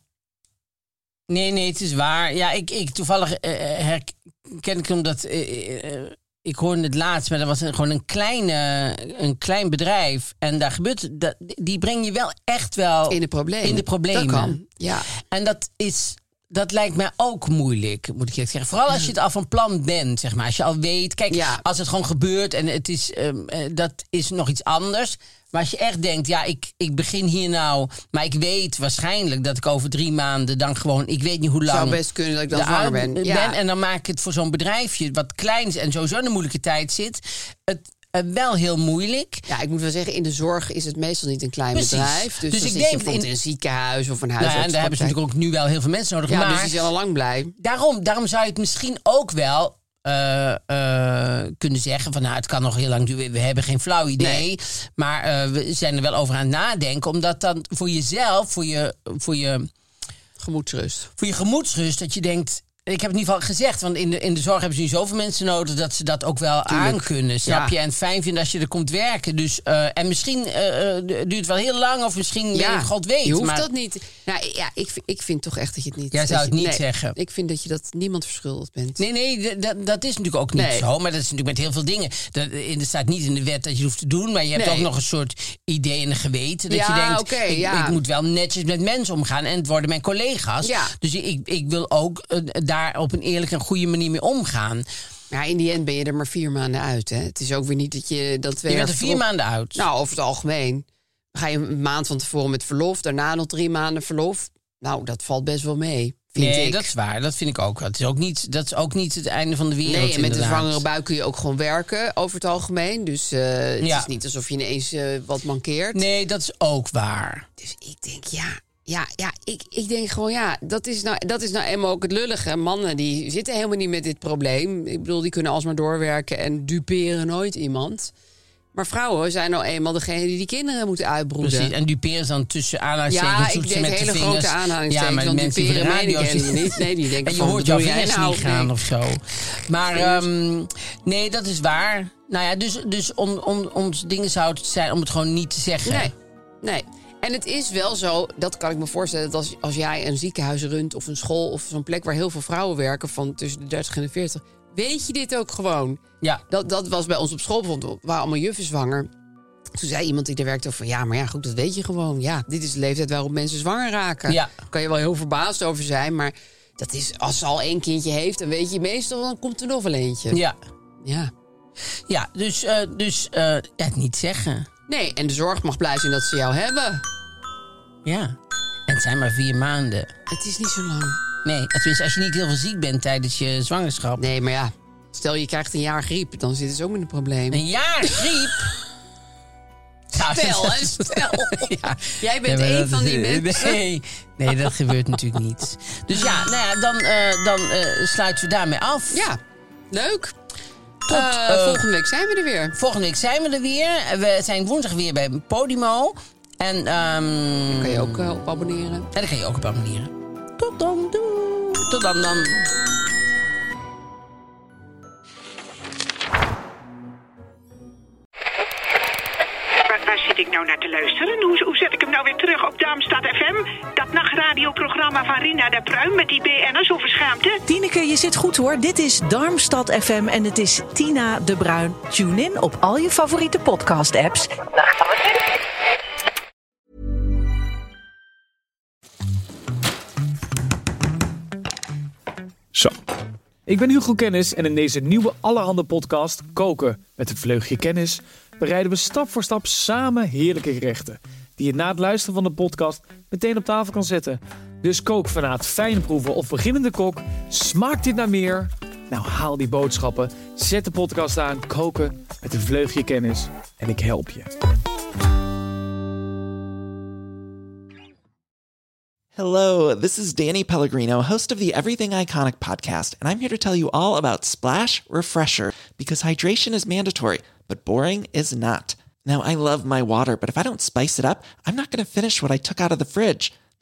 Nee, nee, het is waar. Ja, ik, ik toevallig eh, herken ik hem dat. eh, eh, ik hoorde het laatst, maar dat was een- gewoon een, kleine, een klein bedrijf. En daar gebeurt. Dat, die breng je wel echt wel. In de problemen. Oh. In de problemen. Dat kan, ja. En dat is. Dat lijkt mij ook moeilijk, moet ik je zeggen. Vooral als je het al van plan bent, zeg maar. Als je al weet, kijk, Ja. als het gewoon gebeurt en het is, ehm, eh, dat is nog iets anders. Maar als je echt denkt, ja, ik, ik begin hier nou, maar ik weet waarschijnlijk dat ik over drie maanden dan gewoon, ik weet niet hoe lang. Zou best kunnen dat ik dan de zwanger oud- ben. Ja. ah, En dan maak ik het voor zo'n bedrijfje, wat klein is en sowieso in een moeilijke tijd zit, het eh, wel heel moeilijk. Ja, ik moet wel zeggen, in de zorg is het meestal niet een klein Precies. bedrijf. Dus, Dus dan ik zit denk je bijvoorbeeld in- in een ziekenhuis of een Nou, huisarts. ja, en daar hebben ze natuurlijk ook nu wel heel veel mensen nodig. Ja, maar dus die zijn al lang blij. daarom, daarom zou je het misschien ook wel eh, eh, kunnen zeggen van nou, het kan nog heel lang duren, we hebben geen flauw idee. Maar eh, we zijn er wel over aan het nadenken. Omdat dan voor jezelf, voor je, voor je, Gemoedsrust. voor je gemoedsrust, dat je denkt. Ik heb het in ieder geval gezegd, want in de, in de zorg hebben ze nu zoveel mensen nodig dat ze dat ook wel aan kunnen. Snap Ja. je? En fijn vinden als je er komt werken. Dus, eh, en misschien eh, eh, duurt het wel heel lang, of misschien, ja, God weet. je hoeft maar- dat niet. Nou ja, ik, v- ik vind toch echt dat je het niet... Jij dat zou je- het niet nee, zeggen. Ik vind dat je dat niemand verschuldigd bent. Nee, nee, d- dat, dat is natuurlijk ook niet Nee. zo. Maar dat is natuurlijk met heel veel dingen. Dat, in- er staat niet in de wet dat je het hoeft te doen. Maar je hebt Nee. ook nog een soort idee en een geweten. Dat Ja, je denkt, oké, ik, ja. ik moet wel netjes met mensen omgaan. En het worden mijn collega's. Ja. Dus ik, ik wil ook eh, daar op een eerlijke en goede manier mee omgaan. Maar in die end ben je er maar vier maanden uit. Hè? Het is ook weer niet dat je dat twee Je jaar bent er vier verlof- maanden oud. Nou, over het algemeen. Ga je een maand van tevoren met verlof, daarna nog drie maanden verlof. Nou, dat valt best wel mee, vind nee, ik. dat is waar. Dat vind ik ook. Dat is ook niet, dat is ook niet het einde van de wereld. Nee, en met een inderdaad. zwangere buik kun je ook gewoon werken over het algemeen. Dus eh, het Ja. is niet alsof je ineens eh, wat mankeert. Nee, dat is ook waar. Dus ik denk, ja, ja, ja ik, ik denk gewoon, ja, dat is, nou, dat is nou eenmaal ook het lullige. Mannen die zitten helemaal niet met dit probleem. Ik bedoel, die kunnen alsmaar doorwerken en duperen nooit iemand. Maar vrouwen zijn nou eenmaal degene die die kinderen moeten uitbroeden. Precies. En duperen dan tussen aanhalingstekens. Ja, zoet ik ze deed met de hele vingers. grote aanhalingstekens, Ja, maar want mensen die voor de duperen radio meen ik zitten- helemaal (laughs) niet. Nee, die denken En je van, hoort jouw bedoel jij vingers nou? niet gaan Nee. of zo. Maar ehm, nee, dat is waar. Nou ja, dus, dus om, om, ons dingen zou het zijn om het gewoon niet te zeggen. Nee, nee. En het is wel zo, dat kan ik me voorstellen, dat als, als jij een ziekenhuis runt of een school of zo'n plek waar heel veel vrouwen werken van tussen de 30 en de 40, weet je dit ook gewoon? Ja. Dat, dat was bij ons op school bijvoorbeeld, waar allemaal juffen zwanger. Toen zei iemand die er werkte ook van ja, maar ja, goed, dat weet je gewoon. Ja, dit is de leeftijd waarop mensen zwanger raken. Ja. Kan je wel heel verbaasd over zijn, maar dat is als ze al één kindje heeft, dan weet je meestal, dan komt er nog wel eentje. Ja. ja. Ja, dus, eh, dus eh, het niet zeggen. Nee, en de zorg mag blij zijn dat ze jou hebben. Ja. En het zijn maar vier maanden. Het is niet zo lang. Nee, tenminste, als je niet heel veel ziek bent tijdens je zwangerschap. Nee, maar ja. Stel je krijgt een jaar griep, dan zitten ze ook met een probleem. Een jaar (laughs) griep. Stel, (laughs) hè, stel. Ja. Jij bent maar één dat van is- die mensen. (laughs) Nee, nee, dat gebeurt natuurlijk niet. Dus ja, nou ja dan, eh, dan eh, sluiten we daarmee af. Ja, leuk. Tot, Eh, eh, volgende week zijn we er weer. Volgende week zijn we er weer. We zijn woensdag weer bij Podimo. En, ehm, Kan je ook eh, op abonneren. en dan ga je ook op abonneren. Tot dan, doei. Tot dan, dan. Waar, waar zit ik nou naar te luisteren? Hoe, hoe zet ik hem nou weer terug op Darmstad FM? Dat nachtradioprogramma van Rina de Pruim met die BN'ers over schaamte? Tineke, je zit goed hoor. Dit is Darmstad FM en het is Tina de Bruin. Tune in op al je favoriete podcast-apps. Zo. Ik ben Hugo Kennis en in deze nieuwe allerhande podcast Koken met een vleugje kennis bereiden we stap voor stap samen heerlijke gerechten die je na het luisteren van de podcast meteen op tafel kan zetten. Dus kook vanuit fijnproever of beginnende kok, smaakt dit naar meer? Nou haal die boodschappen, zet de podcast aan, koken met een vleugje kennis en ik help je. Hello, this is Danny Pellegrino, host of the Everything Iconic podcast, and I'm here to tell you all about Splash Refresher because hydration is mandatory, but boring is not. Now, I love my water, but if I don't spice it up, I'm not going to finish what I took out of the fridge.